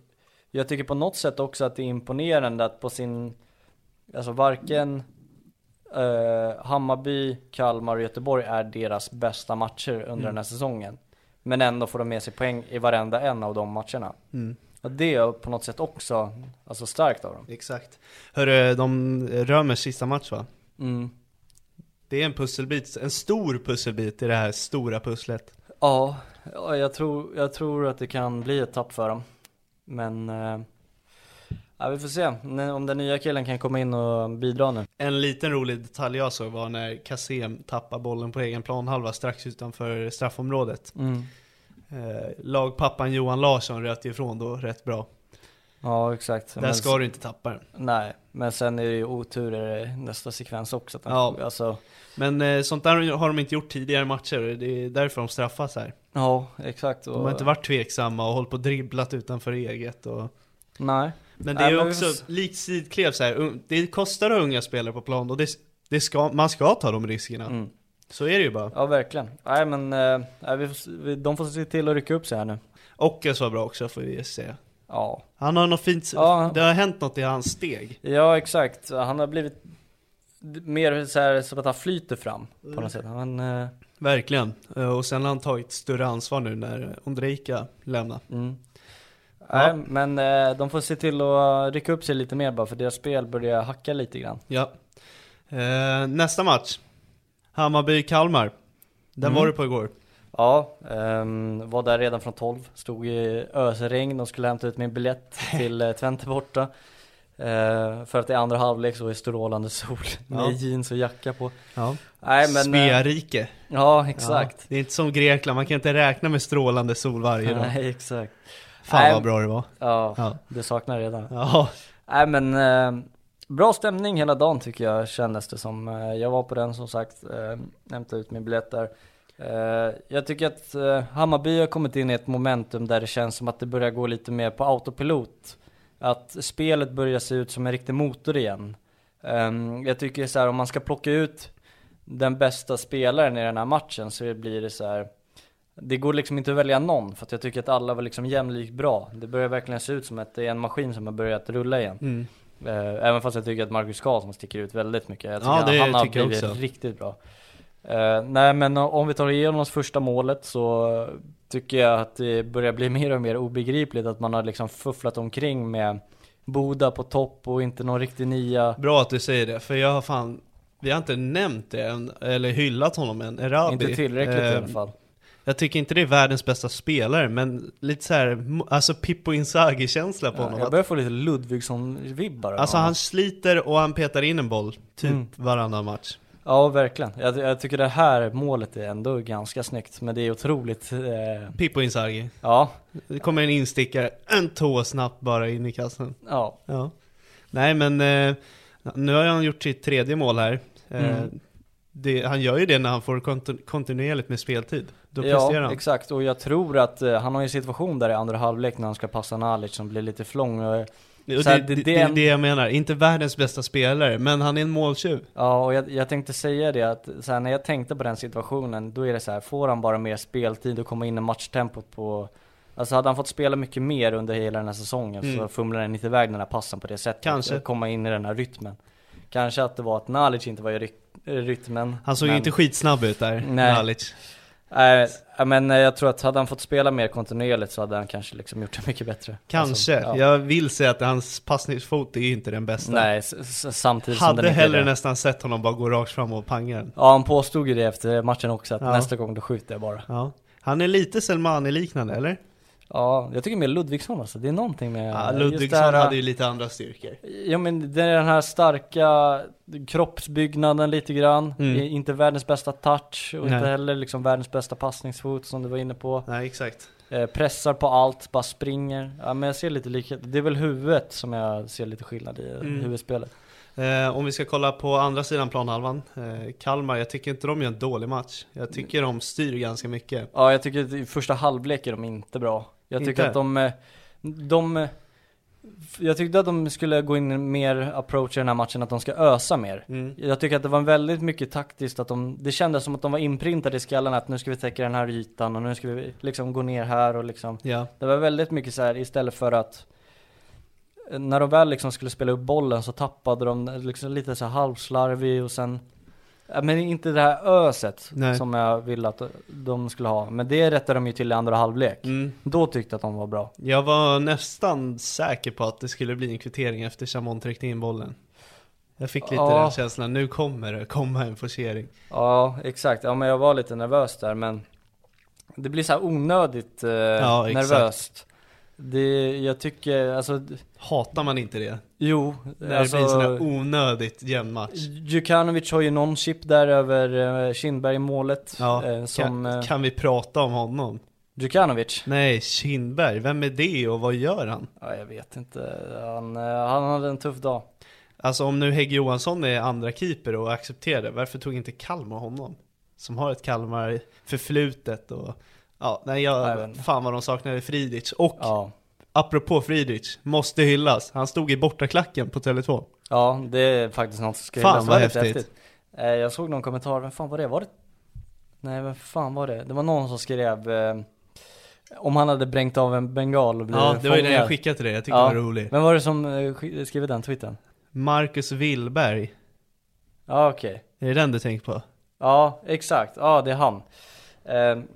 S2: jag tycker på något sätt också att det är imponerande att på sin, alltså varken eh, Hammarby, Kalmar och Göteborg är deras bästa matcher under den här säsongen. Men ändå får de med sig poäng i varenda en av de matcherna. Och det är på något sätt också alltså starkt av dem.
S1: Exakt. Hörru, de Römers sista match va?
S2: Mm.
S1: Det är en pusselbit, en stor pusselbit i det här stora pusslet.
S2: Ja, ja, jag tror, jag tror att det kan bli ett tapp för dem. Men eh, ja, vi får se N- om den nya killen kan komma in och bidra nu.
S1: En liten rolig detalj jag såg var när Kassem tappade bollen på egen planhalva strax utanför straffområdet. Eh, lagpappan Johan Larsson röt ju ifrån då rätt bra.
S2: Ja, exakt.
S1: Där
S2: Men
S1: ska du inte tappa den.
S2: Nej, men sen är det ju otur i nästa sekvens också. Att den,
S1: Ja.
S2: Alltså,
S1: Men eh, sånt där har de inte gjort tidigare i matcher och det är därför de straffas här.
S2: ja, exakt. Och,
S1: De har inte varit tveksamma och hållit på och dribblat utanför eget. Och...
S2: Nej.
S1: Men det
S2: Nej,
S1: är
S2: men vi
S1: ju också,
S2: får se.
S1: likt Sidklev så här, un- det kostar att ha unga spelare på plan och det, det ska, man ska ta de riskerna.
S2: Mm.
S1: Så är det ju bara.
S2: Ja, verkligen. Nej, men eh, nej, vi får, se- vi- de får se till att rycka upp sig här nu.
S1: Ockels var bra också får vi säga.
S2: Ja,
S1: Han har något fint,
S2: Ja.
S1: det har hänt något i hans steg.
S2: Ja exakt, han har blivit d- mer så här som att han flyter fram på
S1: Mm.
S2: något sätt. Han, eh,
S1: Verkligen. Eh, Och sen har han tagit större ansvar nu när Ondrejka lämnar.
S2: mm.
S1: Ja.
S2: Nej, men eh, de får se till att rycka upp sig lite mer bara för deras spel börjar hacka lite grann.
S1: Ja. Eh, nästa match. Hammarby-Kalmar. Där
S2: Mm.
S1: var du på igår.
S2: Ja, ehm, var där redan från 12, stod i ösregn och skulle hämta ut min biljett till eh, Twente borta. Eh, för att i andra halvlek så är strålande sol med
S1: Ja.
S2: jeans och jacka på.
S1: Ja.
S2: Nej men, eh,
S1: Sverige.
S2: ja exakt.
S1: Ja. Det är inte som Grekland, man kan inte räkna med strålande sol varje dag.
S2: Nej exakt.
S1: Fan
S2: Nej,
S1: vad bra det var. Ja.
S2: ja. du saknar redan.
S1: Ja,
S2: Nej men eh, bra stämning hela dagen tycker jag kändes det som. Eh, Jag var på den som sagt, eh, hämtade ut min biljett där. Eh, jag tycker att eh, Hammarby har kommit in i ett momentum där det känns som att det börjar gå lite mer på autopilot. Att spelet börjar se ut som en riktig motor igen. Ehm, jag tycker så här om man ska plocka ut den bästa spelaren i den här matchen så blir det så här. Det går liksom inte att välja någon för att jag tycker att alla var liksom jämlikt bra. Det börjar verkligen se ut som att det är en maskin som har börjat rulla igen.
S1: Mm.
S2: Eh, Även fast jag tycker att Marcus Karlsson sticker ut väldigt mycket. Jag tycker
S1: Ja, det
S2: han, han har
S1: tycker jag
S2: blivit
S1: också.
S2: riktigt bra. Eh, nej men om vi tar igenom oss första målet så tycker jag att det börjar bli mer och mer obegripligt att man har liksom fufflat omkring med Boda på topp och inte någon riktig nia.
S1: Bra att du säger det, för jag har fan vi har inte nämnt det än, eller hyllat honom än, Erabi.
S2: Inte tillräckligt i
S1: Eh,
S2: alla fall.
S1: Jag tycker inte det är världens bästa spelare, men lite så här, mo- alltså Pippo Inzaghi-känsla på honom.
S2: Eh, jag börjar få lite Ludvigsson-vibbar. av
S1: Alltså
S2: honom.
S1: han sliter och han petar in en boll, typ
S2: Mm.
S1: varannan match.
S2: Ja, verkligen. Jag, jag tycker det här målet är ändå ganska snyggt, men det är otroligt... Eh,
S1: Pippo Inzaghi.
S2: ja,
S1: Det kommer en instickare, en tå snabbt bara in i kassen.
S2: ja.
S1: Ja. Nej men, eh, nu har han gjort sitt tredje mål här. Eh,
S2: Mm.
S1: det, han gör ju det när han får kontin- kontinuerligt med speltid. Då presterar
S2: ja
S1: han.
S2: exakt. Och jag tror att eh, han har ju en situation där i andra halvlek när han ska passa Nalic som blir lite flång. Och,
S1: Och
S2: Så här,
S1: det, det,
S2: det- det
S1: det, är
S2: är en-
S1: det jag menar, inte världens bästa spelare, men han är en måltjuv.
S2: ja, och jag, jag tänkte säga det att så här, när jag tänkte på den situationen, då är det så här, får han bara mer speltid och komma in i matchtempot på... Alltså hade han fått spela mycket mer under hela den här säsongen så
S1: Mm.
S2: fumlar han inte iväg den här passen på det sättet.
S1: Kanske.
S2: Och komma in i den här rytmen. Kanske att det var att Nalic inte var i ryk- rytmen.
S1: Han såg
S2: men-
S1: ju inte skitsnabb ut där,
S2: Nej.
S1: Nalic.
S2: Nej, ja, men eh, jag tror att hade han fått spela mer kontinuerligt så hade han kanske liksom gjort det mycket bättre.
S1: Kanske,
S2: Alltså,
S1: jag vill säga att hans passningsfot är ju inte den bästa.
S2: Nej, s- s- samtidigt som
S1: Hade
S2: den inte
S1: hellre
S2: är det.
S1: nästan sett honom bara gå rakt fram och panga den.
S2: Ja, han påstod ju det efter matchen också att
S1: Ja.
S2: nästa gång då skjuter jag bara.
S1: Ja. Han är lite Selmani-liknande eller?
S2: Ja, jag tycker mer Ludvigsson alltså. Det är någonting med...
S1: Ja,
S2: just
S1: Ludvigsson
S2: det här-
S1: hade ju lite andra styrkor.
S2: Ja men det är den här starka kroppsbyggnaden lite grann.
S1: Mm.
S2: I- Inte världens bästa touch och inte
S1: Nej.
S2: heller liksom världens bästa passningsfot som du var inne på.
S1: Nej exakt.
S2: Eh, pressar på allt, bara springer. Ja men jag ser lite likhet. Det är väl huvudet som jag ser lite skillnad i eh,
S1: Mm.
S2: huvudspelet.
S1: Eh, om vi ska kolla på andra sidan planhalvan. Eh, Kalmar, jag tycker inte de gör en dålig match. Jag tycker de styr ganska mycket.
S2: Ja, jag tycker att i första halvlek är de inte bra. Jag tycker
S1: Inte?
S2: att de, eh, de, eh, f- jag tyckte att de skulle gå in mer approach i den här matchen, att de ska ösa mer.
S1: Mm.
S2: Jag tycker att det var väldigt mycket taktiskt att de, det kändes som att de var inprintade i skallen att nu ska vi täcka den här ytan och nu ska vi liksom gå ner här och liksom.
S1: Ja.
S2: Det var väldigt mycket så här istället för att eh, när de väl liksom skulle spela upp bollen så tappade de liksom lite så här halvslarvig och sen ja, men inte det här öset
S1: Nej.
S2: som jag ville att de skulle ha. Men det rättade de ju till i andra halvlek.
S1: Mm.
S2: Då tyckte jag att de var bra.
S1: Jag var nästan säker på att det skulle bli en kvittering efter Chamon tryckte in bollen. Jag fick lite
S2: Ja.
S1: den känslan, nu kommer det komma en forcering.
S2: Ja, exakt. Ja, men jag var lite nervös där, men det blir så här onödigt eh,
S1: Ja, exakt.
S2: nervöst. Det, jag tycker, alltså, d-
S1: Hatar man inte det?
S2: jo.
S1: När
S2: alltså,
S1: det blir en sån här onödigt jämn match.
S2: Djukanovic har ju någon chip där över eh, Kindberg i målet.
S1: Ja,
S2: eh, som,
S1: kan,
S2: eh,
S1: kan vi prata om honom?
S2: Djukanovic?
S1: Nej, Kindberg, vem är det och vad gör han?
S2: Ja, jag vet inte. Han, eh, han hade en tuff dag.
S1: Alltså om nu Hägg Johansson är andra keeper och accepterar det, varför tog inte Kalmar honom? Som har ett Kalmar förflutet och ja, nej jag,
S2: Även.
S1: fan vad de saknade Fridic. Och
S2: Ja,
S1: apropå Fridic, måste hyllas, han stod i bortaklacken på Tele2.
S2: ja det är faktiskt något som ska
S1: Fan,
S2: hyllas. Det
S1: vad
S2: var lite
S1: häftigt.
S2: Eh, jag såg någon kommentar, vem fan var det? Var det? Nej, vem fan var det? Det var någon som skrev eh, om han hade brängt av en bengal och blivit
S1: Ja, det var ju den jag
S2: fångad.
S1: skickade till dig, jag tyckte
S2: Ja.
S1: det var rolig.
S2: Vem var det som eh, sk- skrev den tweeten?
S1: Marcus Willberg,
S2: Ja, okej.
S1: är det den du tänker på?
S2: Ja, exakt. Ja, det är han. Ehm,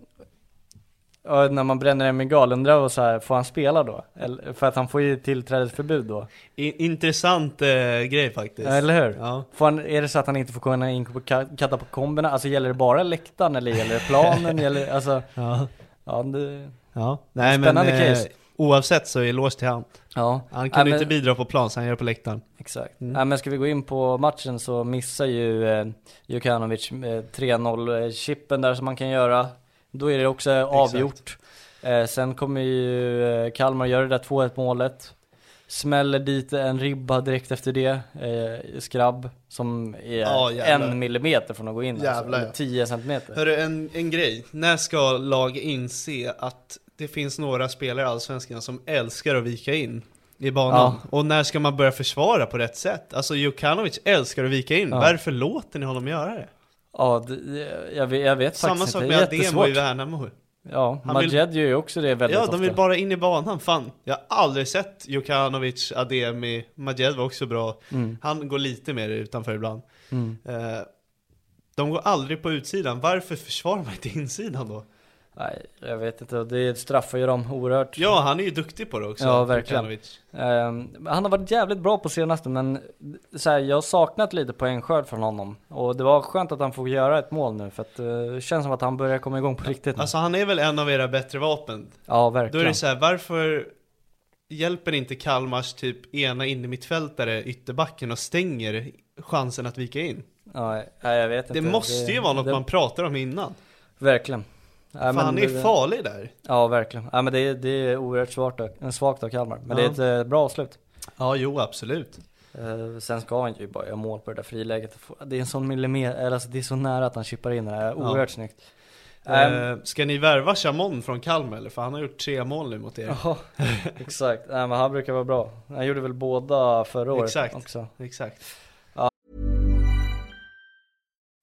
S2: och när man bränner en bengal, undrar jag så här, får han spela då? Eller, för att han får ju tillträdesförbud då.
S1: I, intressant eh, grej faktiskt.
S2: Eller hur?
S1: Ja.
S2: Får han, är det så att han inte får kunna in på ka- katakomberna? Alltså gäller det bara läktaren eller gäller det planen? gäller, alltså,
S1: Ja.
S2: ja, det,
S1: ja. Nej,
S2: Spännande
S1: men, eh,
S2: case.
S1: Oavsett så är lås till han.
S2: ja.
S1: Han
S2: Ja,
S1: kunde
S2: men-
S1: inte bidra på plan, så han gör det på läktaren.
S2: Exakt.
S1: Mm.
S2: Nej, men ska vi gå in på matchen så missar ju eh, Jukanovic eh, 3-0-chippen där som man kan göra. Då är det också avgjort. Eh, sen kommer ju eh, Kalmar göra det där 2-1 målet. Smäller dit en ribba direkt efter det, eh, skrabb, som är
S1: Ja, jävlar.
S2: en millimeter från att gå in. alltså,
S1: Jävlar,
S2: eller
S1: ja.
S2: 10 centimeter.
S1: Hörru, en, en grej. När ska lag inse att det finns några spelare i Allsvenskan som älskar att vika in i banan? Och när ska man börja försvara på rätt sätt? Alltså Jokanovic älskar att vika in,
S2: Ja.
S1: varför låter ni honom göra det?
S2: Ja, det, jag, vet- jag vet
S1: Samma
S2: faktiskt
S1: sak
S2: inte,
S1: med
S2: det är
S1: Ademo i
S2: jättesvårt.
S1: Värnamo.
S2: Ja,
S1: Han vill-
S2: Majed gör ju också det väldigt
S1: Ja,
S2: ofta.
S1: de vill bara in i banan. Fan, jag har aldrig sett Jokanovic, Ademi, Majed var också bra. Han går lite mer utanför ibland.
S2: Mm.
S1: Eh, De går aldrig på utsidan, varför försvarar man inte insidan då?
S2: Nej, jag vet inte. Det straffar ju dem oerhört.
S1: Ja, han är ju duktig på det också.
S2: Ja, verkligen.
S1: Pjukanovic.
S2: Ehm, han har varit jävligt bra på senaste men så här, jag har saknat lite poängskörd från honom. Och det var skönt att han får göra ett mål nu för att eh, det känns som att han börjar komma igång på riktigt nu.
S1: Alltså han är väl en av era bättre vapen.
S2: ja,
S1: Då
S2: verkligen.
S1: är det så här, varför hjälper inte Kalmars typ ena innermittfältare ytterbacken och stänger chansen att vika in?
S2: ja, nej, jag vet
S1: Det
S2: inte.
S1: måste ju vara något
S2: det-
S1: man pratar om innan.
S2: Verkligen. Ja,
S1: Fan, han är
S2: det-
S1: farlig där.
S2: Ja, verkligen. Ja, men det, är- det är oerhört svårt och, svagt av Kalmar. Men
S1: Ja.
S2: det är ett eh, bra avslut.
S1: Ja, jo absolut.
S2: Eh, sen ska han ju bara göra mål på det där friläget. och få- Det är en sån millimeter, eller alltså det är så nära att han chippar in det där. Oerhört snyggt. Ehm,
S1: Eh, ska ni värva Chamon från Kalmar eller? För han har gjort tre mål nu mot er.
S2: Ja, exakt. Nej, men han brukar vara bra. Han gjorde väl båda förra året
S1: Exakt.
S2: också.
S1: Exakt.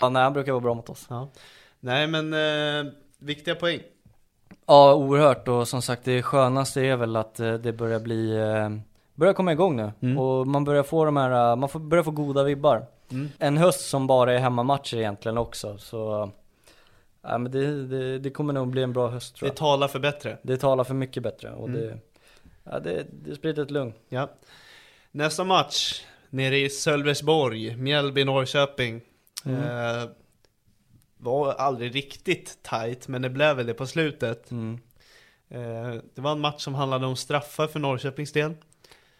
S2: Ja, nej, han brukar vara bra mot oss.
S1: Ja. Nej men, eh, viktiga poäng.
S2: Ja, oerhört. Och som sagt, det skönaste är väl att eh, det börjar bli... eh, Börjar komma igång nu.
S1: Mm.
S2: Och man börjar få de här... eh, Man får, börjar få goda vibbar.
S1: Mm.
S2: En höst som bara är hemmamatcher egentligen också. Så... Ja, men det, det, det kommer nog bli en bra höst tror
S1: Det
S2: jag.
S1: talar för bättre.
S2: Det talar för mycket bättre. Och det, ja, det, det sprider ett lugn.
S1: Ja. Nästa match, nere i Sölvesborg, Mjällby-Norrköping.
S2: Mm.
S1: Eh, var aldrig riktigt tight, men det blev väl det på slutet.
S2: Mm.
S1: Eh, det var en match som handlade om straffar för Norrköpings del.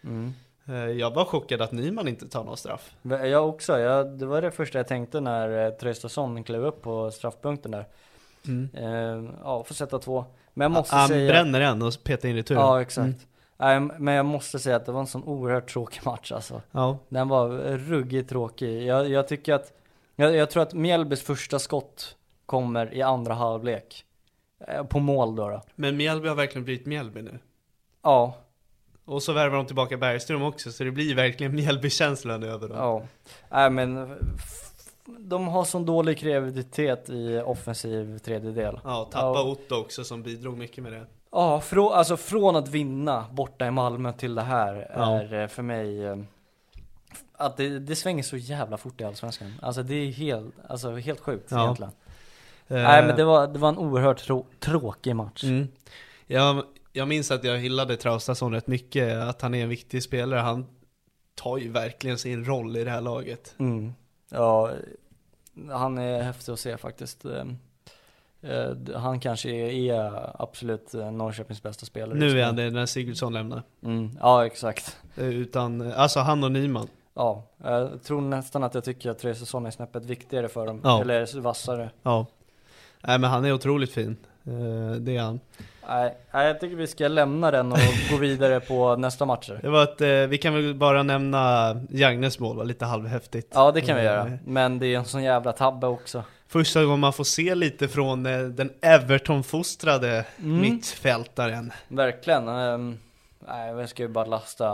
S2: Mm.
S1: Eh, jag var chockad att Nyman inte tar någon straff.
S2: Jag också, jag, det var det första jag tänkte när eh, Traustason klev upp på straffpunkten där. Eh, ja, får sätta två. Men jag måste
S1: Han
S2: säga...
S1: bränner en och petar in returen.
S2: Ja, exakt. Nej, men jag måste säga att det var en sån oerhört tråkig match alltså.
S1: Ja.
S2: Den var eh, ruggigt tråkig. Jag, jag tycker att, jag, jag tror att Mjällbys första skott kommer i andra halvlek. Eh, På mål då. då.
S1: Men Mjällby har verkligen blivit Mjällby nu.
S2: Ja,
S1: Och så värvar de tillbaka Bergström också, så det blir verkligen Mjällby-känslan över dem.
S2: Ja, nej men f- de har sån dålig kreativitet i offensiv tredjedel.
S1: Ja, och tappa
S2: Ja.
S1: Otto också som bidrog mycket med det.
S2: Ja, frå, alltså från att vinna borta i Malmö till det här
S1: Ja.
S2: är eh, för mig eh, f- att det, det svänger så jävla fort i Allsvenskan. Alltså det är helt, alltså, helt sjukt
S1: Ja.
S2: egentligen.
S1: Eh,
S2: Nej men det var, det var en oerhört trå, tråkig match.
S1: Mm. Jag, jag minns att jag hyllade Traustason rätt mycket, att han är en viktig spelare. Han tar ju verkligen sin roll i det här laget.
S2: Mm. Ja, han är häftig att se faktiskt. Eh, eh, d- Han kanske är, är absolut eh, Norrköpings bästa spelare. just
S1: Nu är han det när Sigurdsson lämnar.
S2: Mm, ja, exakt.
S1: Eh, Utan, eh, alltså han och Nyman.
S2: Ja, jag tror nästan att jag tycker att Traustason är snäppet viktigare för dem.
S1: Ja.
S2: Eller vassare.
S1: Ja. Nej men han är otroligt fin. Eh, Det är han.
S2: Nej, nej, jag tycker vi ska lämna den och gå vidare på nästa matcher.
S1: Det var ett, eh, vi kan väl bara nämna Jagnes mål, var lite halvhäftigt.
S2: Ja, det kan vi
S1: Eh,
S2: göra. Men det är en sån jävla tabbe också.
S1: Första gången man får se lite från eh, den Everton-fostrade
S2: Mm.
S1: mittfältaren.
S2: Verkligen. ehm, Nej, vi ska ju bara lasta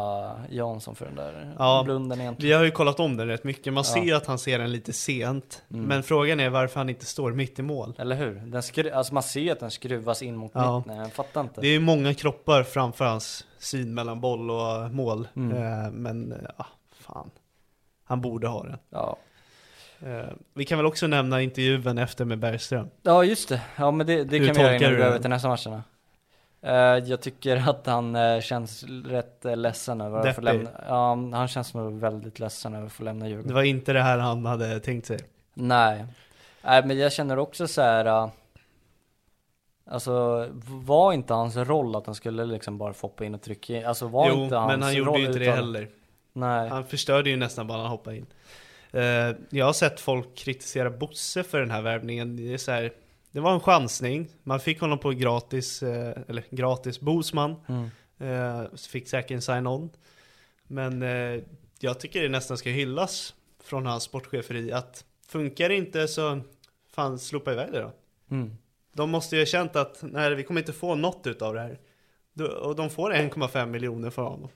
S2: Jansson för den där
S1: Ja.
S2: blunden egentligen.
S1: Vi har ju kollat om den rätt mycket, man ser ju att han ser den lite sent.
S2: Mm.
S1: Men frågan är varför han inte står mitt i mål.
S2: Eller hur? Den skru- alltså man ser ju att den skruvas in mot
S1: Ja.
S2: mitt. Nej, jag fattar inte.
S1: Det är ju många kroppar framför hans syn mellan boll och mål.
S2: Mm.
S1: Eh, Men eh, ja, fan. Han borde ha den.
S2: Ja.
S1: Eh, Vi kan väl också nämna intervjun efter med Bergström.
S2: ja, just det. Ja, men det, det
S1: Hur
S2: kan vi göra
S1: tolkar du
S2: innan vi går
S1: det?
S2: över till nästa matcherna. Eh, jag tycker att han eh, känns rätt eh, ledsen över att få
S1: Deppig.
S2: lämna. Ja, han känns nog väldigt ledsen över att få lämna Djurgården.
S1: Det var inte det här han hade tänkt sig.
S2: Nej. Nej, men jag känner också så här. äh, Alltså var inte hans roll att han skulle liksom bara foppa in och trycka in? Alltså var
S1: jo,
S2: inte hans
S1: men han gjorde
S2: roll
S1: ju inte det
S2: utan-
S1: heller.
S2: Nej.
S1: Han förstörde ju nästan bara när han hoppade in. Eh, jag har sett folk kritisera Bosse för den här värvningen. Det, är så här, det var en chansning. Man fick honom på gratis, eh, eller gratis Bosman.
S2: Mm.
S1: Eh, så fick säkert en sign-on. Men eh, jag tycker det nästan ska hyllas från hans sportcheferi att funkar det inte så fan slopa iväg det då.
S2: Mm.
S1: De måste ju ha känt att nej, vi kommer inte få något utav det här. Då- Och de får 1,5 miljoner för honom.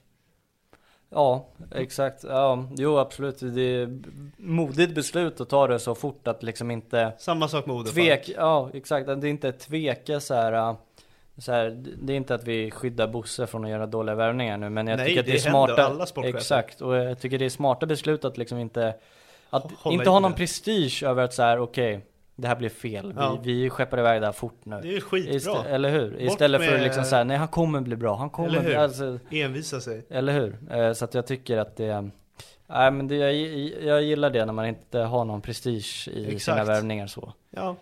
S2: Ja, exakt. Ja, jo absolut. Det är modigt beslut att ta det så fort att liksom inte
S1: Samma sak med Odefall.
S2: Tvek, ja exakt. Att Det är inte tveka så här, äh, så här. Det är inte att vi skyddar Bosse från att göra dåliga värvningar nu. Men jag
S1: Nej,
S2: tycker att det,
S1: det
S2: är
S1: händer
S2: smarta.
S1: alla sportchefer.
S2: exakt. Och jag tycker det är smarta beslut att liksom inte. Att
S1: Hålla
S2: inte ha
S1: i
S2: någon
S1: det.
S2: prestige över att så här, okej. det här blev fel. Vi,
S1: Ja.
S2: vi skeppar iväg det här fort nu.
S1: Det är ju skitbra.
S2: Istä- eller hur? Istället för
S1: med-
S2: att liksom så här, nej han kommer bli bra. Han kommer
S1: Eller
S2: bli,
S1: hur?
S2: alltså,
S1: Envisa sig.
S2: eller hur? Eh, Så att jag tycker att det. Nej men det, jag, jag gillar det när man inte har någon prestige i sina
S1: Exakt.
S2: värvningar så.
S1: Ja,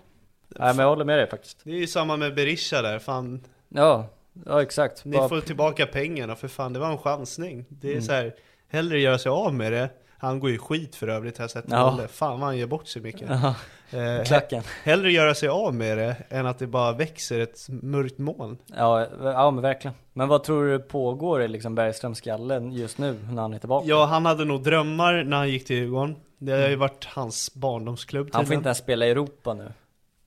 S2: Nej men jag håller med dig faktiskt.
S1: det är ju samma med Berisha där. Fan,
S2: Ja, ja exakt.
S1: ni
S2: Bara-
S1: får tillbaka pengarna för fan, det var en chansning. Det är
S2: Mm.
S1: så här, hellre göra sig av med det. Han går ju skit för övrigt, har jag sett.
S2: Ja.
S1: Olle. Fan vad han gör bort sig mycket.
S2: Ja,
S1: Eh,
S2: klacken.
S1: hellre göra sig av med det än att det bara växer ett mörkt moln.
S2: Ja, ja men verkligen. Men vad tror du pågår i liksom Bergströms skalle just nu när han är tillbaka?
S1: Ja, han hade nog drömmar när han gick till Djurgården. Det har ju varit hans barndomsklubb
S2: Mm. han får
S1: tydligen.
S2: inte ens spela i Europa nu.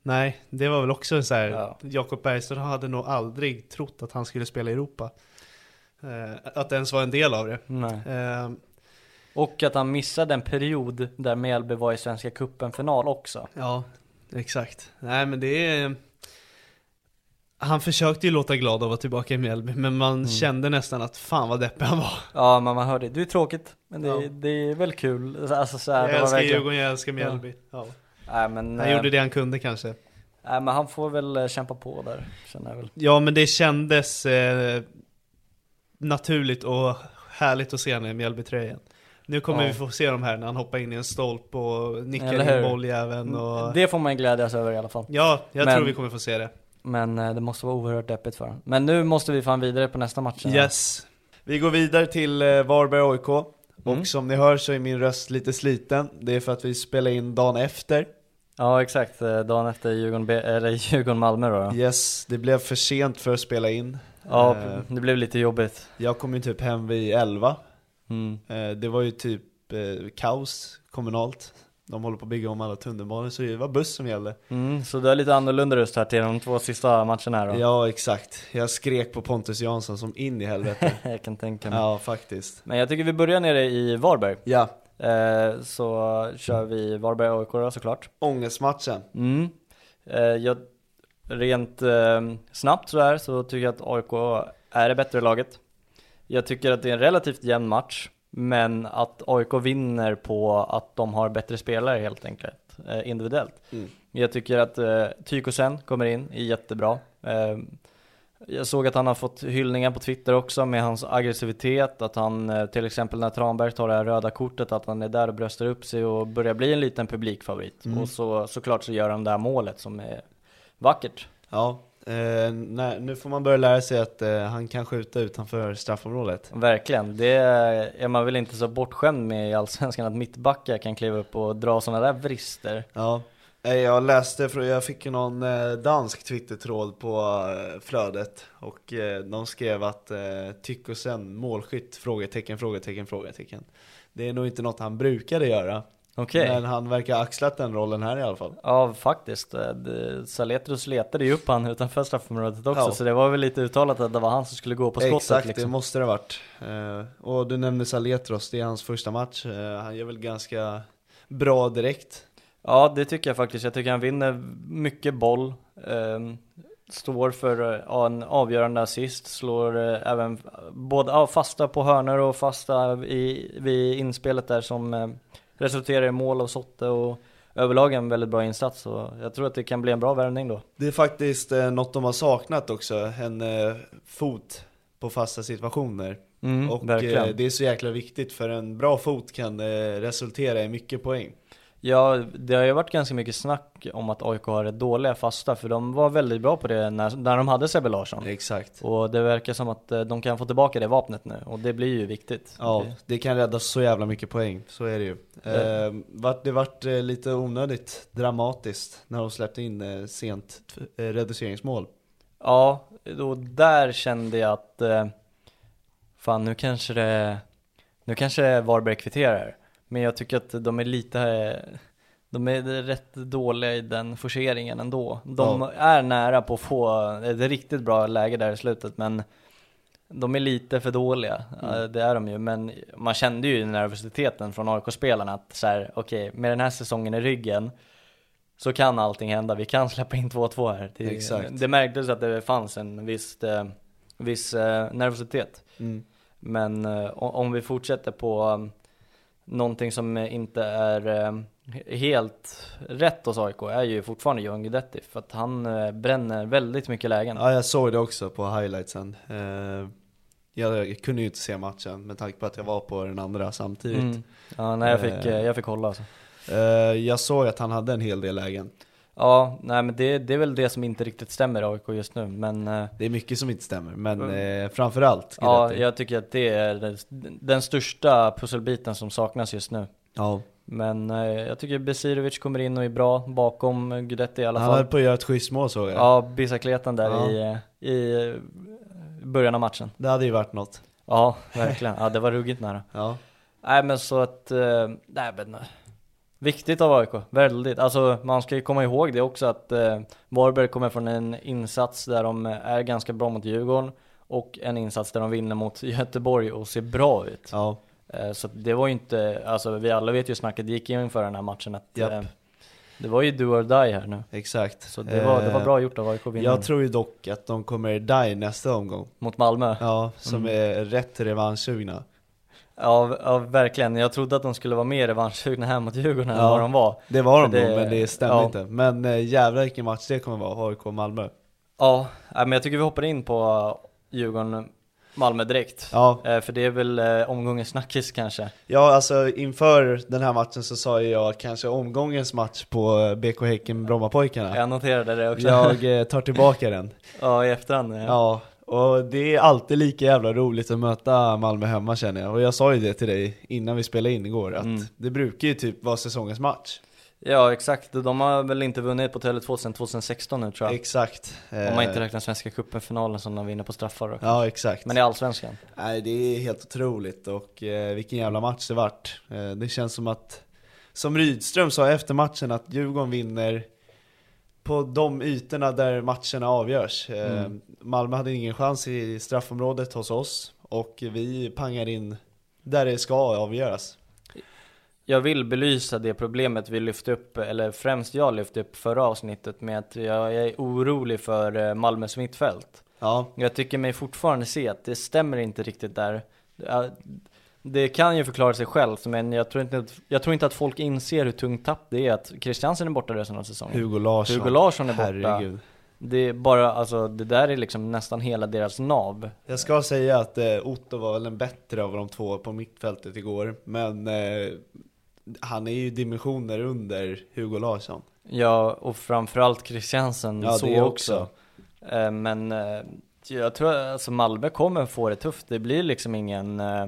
S1: Nej, det var väl också så här.
S2: Ja.
S1: Jakob Bergström hade nog aldrig trott att han skulle spela i Europa. Eh, att det ens var en del av det.
S2: Nej.
S1: Eh,
S2: Och att han missade en period där Mjällby var i Svenska cupen final också.
S1: ja, exakt. Nej, men det är... Han försökte ju låta glad att vara tillbaka i Mjällby, men man
S2: Mm.
S1: kände nästan att fan vad deppig han var.
S2: Ja, men man hör det. Det är tråkigt, men det,
S1: Ja.
S2: det är väl kul. Alltså så här,
S1: Jag
S2: det var
S1: älskar
S2: verkligen-
S1: Djurgården, jag älskar Mjällby. Ja.
S2: Nej, men,
S1: Han
S2: eh,
S1: gjorde det han kunde kanske.
S2: Nej, men han får väl eh, kämpa på där, känner jag väl.
S1: Ja, men det kändes eh, naturligt och härligt att se honom i Mjällbytröjan. Nu kommer
S2: Ja.
S1: vi få se de här när han hoppar in i en stolp och
S2: Eller
S1: nickar
S2: hur?
S1: in bolljäveln
S4: Mm,
S1: och...
S2: Det får man glädjas över i alla fall.
S1: Ja, jag
S2: Men-
S1: tror vi kommer få se det.
S2: Men eh, det måste vara oerhört deppigt för honom. Men nu måste vi fan vidare på nästa match.
S1: Yes.
S4: Vi går vidare till eh, Varberg AIK. Och
S2: Mm.
S4: som ni hör så är min röst lite sliten. Det är för att vi spelar in dagen efter.
S2: Ja exakt, Eh, dagen efter Djurgården, B- eller Djurgården Malmö då. Ja,
S4: Yes, det blev för sent för att spela in.
S2: ja
S4: Eh,
S2: det blev lite jobbigt.
S4: jag kom ju typ hem vid 11.
S2: Mm.
S4: Eh, det var ju typ eh, kaos kommunalt. De håller på att bygga om alla tunnelbanor så det var buss som gällde.
S2: Mm, så du har lite annorlunda röst här till de två sista matcherna här då?
S4: Ja, exakt. Jag skrek på Pontus Jansson som in i helvete.
S2: jag kan tänka mig.
S4: ja, faktiskt.
S2: Men jag tycker vi börjar nere i Varberg.
S4: Ja,
S2: Eh, så kör vi Varberg AIK då såklart.
S4: ångestmatchen.
S2: Mm. Eh, jag, rent eh, snabbt sådär så tycker jag att AIK är det bättre laget. Jag tycker att det är en relativt jämn match, men att AIK vinner på att de har bättre spelare helt enkelt, eh, individuellt.
S4: Mm.
S2: Jag tycker att eh, Tykosen kommer in, är jättebra. Eh, jag såg att han har fått hyllningar på Twitter också med hans aggressivitet, att han eh, till exempel när Tranberg tar det här röda kortet, att han är där och bröstar upp sig och börjar bli en liten publikfavorit.
S4: Mm.
S2: Och så, såklart så gör han det här målet som är vackert.
S4: Ja, eh, nej, nu får man börja lära sig att eh, han kan skjuta utanför straffområdet.
S2: Verkligen, det är man väl inte så bortskämd med i Allsvenskan att mittbackar kan kliva upp och dra sådana där vrister.
S4: Ja. Eh, Jag läste, för jag fick ju någon eh, dansk twittertråd på eh, flödet och eh, de skrev att eh, Tykosen målskytt? Frågetecken, frågetecken, frågetecken. Det är nog inte något han brukade göra,
S2: Okej.
S4: men han verkar ha axlat den rollen här i alla fall.
S2: Ja faktiskt, Eh, det- Saletros letade ju upp han utanför straffområdet också
S4: Ja.
S2: så det var väl lite uttalat att det var han som skulle gå på skottet
S4: Exakt, det
S2: liksom.
S4: måste det ha varit. Eh, och du nämnde Saletros, det är hans första match. Eh, han gör väl ganska bra direkt.
S2: Ja det tycker jag faktiskt, jag tycker han vinner mycket boll, ehm, står för eh, ja, en avgörande assist, slår eh, även både ja, fasta på hörnor och fasta i, vid inspelet där som eh, resulterar i mål av Sotte och överlag en väldigt bra insats och jag tror att det kan bli en bra värvning då.
S1: Det är faktiskt eh, något de har saknat också, en eh, fot på fasta situationer.
S2: Mm,
S1: och
S2: verkligen.
S1: eh, det är så jäkla viktigt för en bra fot kan eh, resultera i mycket poäng.
S2: Ja, det har ju varit ganska mycket snack om att AIK har rätt dåliga fasta, för de var väldigt bra på det när, när de hade Sebbe Larsson.
S1: Exakt.
S2: Och det verkar som att eh, de kan få tillbaka det vapnet nu, och det blir ju viktigt.
S1: Ja,
S2: Det-
S1: det kan rädda så jävla mycket poäng, så är det ju. Eh, vart- det vart eh, lite onödigt dramatiskt när de släppte in eh, sent eh, reduceringsmål.
S2: Ja, och där kände jag att eh, fan nu kanske det, nu kanske Varberg kvitterar. Men jag tycker att de är lite, eh, de är rätt dåliga i den forceringen ändå. De
S1: Ja.
S2: är nära på att få ett riktigt bra läge där i slutet men de är lite för dåliga,
S1: Mm.
S2: Eh, det är de ju. Men man kände ju nervositeten från AIK-spelarna att så här, okej, med den här säsongen i ryggen så kan allting hända. Vi kan släppa in 2-2 här. Det,
S1: Exakt.
S2: det märktes att det fanns en viss, eh, viss eh, nervositet.
S1: Mm.
S2: Men eh, o- om vi fortsätter på um, någonting som eh, inte är eh, he- helt rätt hos AIK är ju fortfarande Johan Guidetti. För att han eh, bränner väldigt mycket lägen.
S1: Ja, jag såg det också på highlightsen. Eh, jag kunde ju inte se matchen med tanke på att jag var på den andra samtidigt.
S2: Mm. Ja, nej, jag fick,
S1: Eh.
S2: eh, jag fick hålla alltså.
S1: Eh, jag såg att han hade en hel del lägen.
S2: Ja, nej men det, det är väl det som inte riktigt stämmer i AIK just nu, men eh,
S1: Det är mycket som inte stämmer, men eh, framförallt
S2: Mm. ja,
S1: Guidetti.
S2: jag tycker att det är den, den största pusselbiten som saknas just nu.
S1: ja.
S2: Men eh, jag tycker Besirovic kommer in och är bra bakom Guidetti i alla
S1: Han höll
S2: fall.
S1: på att göra ett schysst mål såg jag.
S2: Ja, Bicicletan där
S1: Ja.
S2: i, eh, i eh, början av matchen.
S1: Det hade ju varit något.
S2: Ja, verkligen. Ja, det var ruggigt nära.
S1: Ja.
S2: Nej men så att, eh, nej men eh, Viktigt av AIK, väldigt. Alltså man ska ju komma ihåg det också att eh, Varberg kommer från en insats där de är ganska bra mot Djurgården och en insats där de vinner mot Göteborg och ser bra ut.
S1: Ja.
S2: Eh, så det var ju inte, alltså vi alla vet ju hur snacket gick inför den här matchen att
S1: Japp.
S2: eh, det var ju do or die här nu.
S1: Exakt.
S2: Så det var, det var bra gjort av AIK att vinna
S1: Eh, Jag tror ju dock att de kommer die nästa omgång.
S2: mot Malmö.
S1: Ja, som
S2: Mm.
S1: är rätt revanschsugna.
S2: Ja, ja, verkligen. Jag trodde att de skulle vara mer revanschsugna här mot Djurgården än
S1: Ja.
S2: vad de var.
S1: Det var de
S2: För det-
S1: nog, men det stämde
S2: ja.
S1: inte. Men eh, jävlar vilken match det kommer vara, AIK-Malmö.
S2: Ja, nej, men jag tycker vi hoppar in på Djurgården-Malmö direkt.
S1: Ja.
S2: Eh, För det är väl eh, omgångens snackis kanske.
S1: ja, alltså inför den här matchen så sa ju jag kanske omgångens match på eh, BK Häcken Brommapojkarna.
S2: Jag noterade det också.
S1: Jag eh, tar tillbaka den.
S2: ja, i efterhand. eh.
S1: Ja, och det är alltid lika jävla roligt att möta Malmö hemma känner jag. Och jag sa ju det till dig innan vi spelade in igår, att
S2: Mm.
S1: det brukar ju typ vara säsongens match.
S2: ja, exakt. De har väl inte vunnit på Tele2 sedan 2016 nu tror jag.
S1: Exakt.
S2: Om man inte
S1: Eh,
S2: räknar Svenska cupen-finalen som de vinner på straffar. och-
S1: Ja, exakt.
S2: Men i Allsvenskan.
S1: Nej, det är helt otroligt och eh, vilken jävla match det vart. Eh, det känns som att, som Rydström sa efter matchen, att Djurgården vinner på de ytorna där matcherna avgörs. Eh,
S2: Mm.
S1: Malmö hade ingen chans i straffområdet hos oss och vi pangar in där det ska avgöras.
S2: Jag vill belysa det problemet vi lyfte upp, eller främst jag lyfte upp förra avsnittet med att jag är orolig för eh, Malmös mittfält.
S1: Ja,
S2: Jag tycker mig fortfarande se att det stämmer inte riktigt där. Ja, Det kan ju förklara sig självt, men jag tror inte att, jag tror inte att folk inser hur tungt tapp det är att Christiansen är borta resten av säsongen.
S1: Hugo Larsson.
S2: Hugo Larsson är borta.
S1: Herregud.
S2: Det är bara, alltså det där är liksom nästan hela deras nav.
S1: Jag ska säga att eh, Otto var väl den bättre av de två på mittfältet igår, men eh, han är ju dimensioner under Hugo Larsson.
S2: Ja, och framförallt Christiansen
S1: Ja,
S2: så
S1: det
S2: också. Eh, Men eh, jag tror alltså Malmö kommer få det tufft. Det blir liksom ingen eh,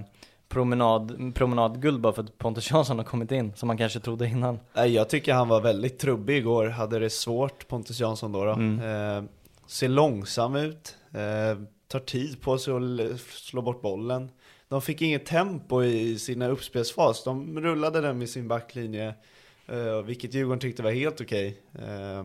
S2: promenad, promenadguld bara för att Pontus Jansson har kommit in, som man kanske trodde innan.
S1: Nej, jag tycker han var väldigt trubbig igår, hade det svårt Pontus Jansson då. då. Eh, ser långsam ut, eh, tar tid på sig att l- slå bort bollen. De fick inget tempo i sina uppspelsfas, de rullade den med sin backlinje, eh, vilket Djurgården tyckte var helt okej. Eh,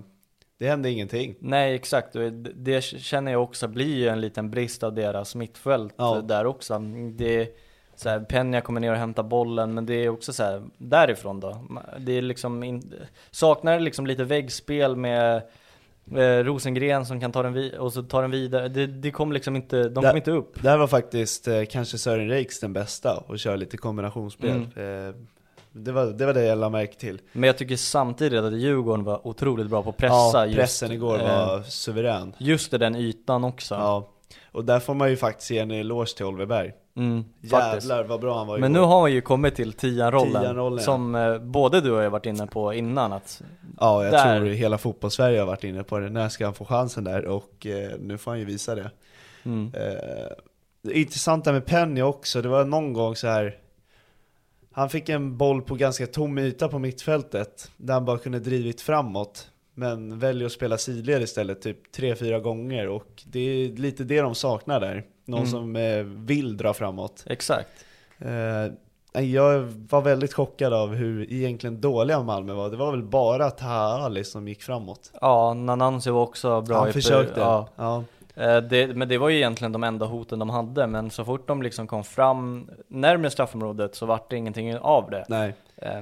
S1: det hände ingenting.
S2: Nej exakt, och det- det känner jag också blir ju en liten brist av deras mittfält
S1: Ja.
S2: där också. Det är så här, Peña kommer ner och hämtar bollen, men det är också så här, därifrån då. Det är liksom in, saknar liksom lite väggspel med eh, Rosengren som kan ta den vi- och så tar den vidare. Det, det kom liksom inte, de
S1: Där-
S2: kom inte upp.
S1: Där var faktiskt eh, kanske Sören Reiks den bästa och köra lite kombinationsspel. Eh, Det var, det var det jag lade märke till.
S2: Men jag tycker samtidigt att Djurgården var otroligt bra på att pressa. eh,
S1: Ja, pressen igår var suverän.
S2: Just i den ytan också.
S1: Ja. Och där får man ju faktiskt ge en eloge till Oliver Berg.
S2: Mm, faktiskt.
S1: Jävlar vad bra han var
S2: Men nu
S1: igår.
S2: har vi ju kommit till tian-rollen,
S1: Tian-rollen, ja.
S2: som eh, både du och jag varit inne på innan att
S1: Ja, jag
S2: där.
S1: tror hela fotbollssverige har varit inne på det. När ska han få chansen där? Och eh, nu får han ju visa det.
S2: mm,
S1: Eh, det intressanta med Penny också, det var någon gång så här. Han fick en boll på ganska tom yta på mittfältet, där han bara kunde drivit framåt. Men väljer att spela sidled istället, typ tre fyra gånger. Och det är lite det de saknar där. Någon
S2: Mm.
S1: som eh, vill dra framåt.
S2: exakt.
S1: Eh, jag var väldigt chockad av hur egentligen dåliga Malmö var. Det var väl bara Taha Ali som gick framåt.
S2: Ja, Nanansi var också bra i
S1: han
S2: per-
S1: försökte.
S2: ja.
S1: Ja.
S2: Eh, det, Men det var ju egentligen de enda hoten de hade, men så fort de liksom kom fram närmare straffområdet så vart det ingenting av det.
S1: Nej.
S2: Eh,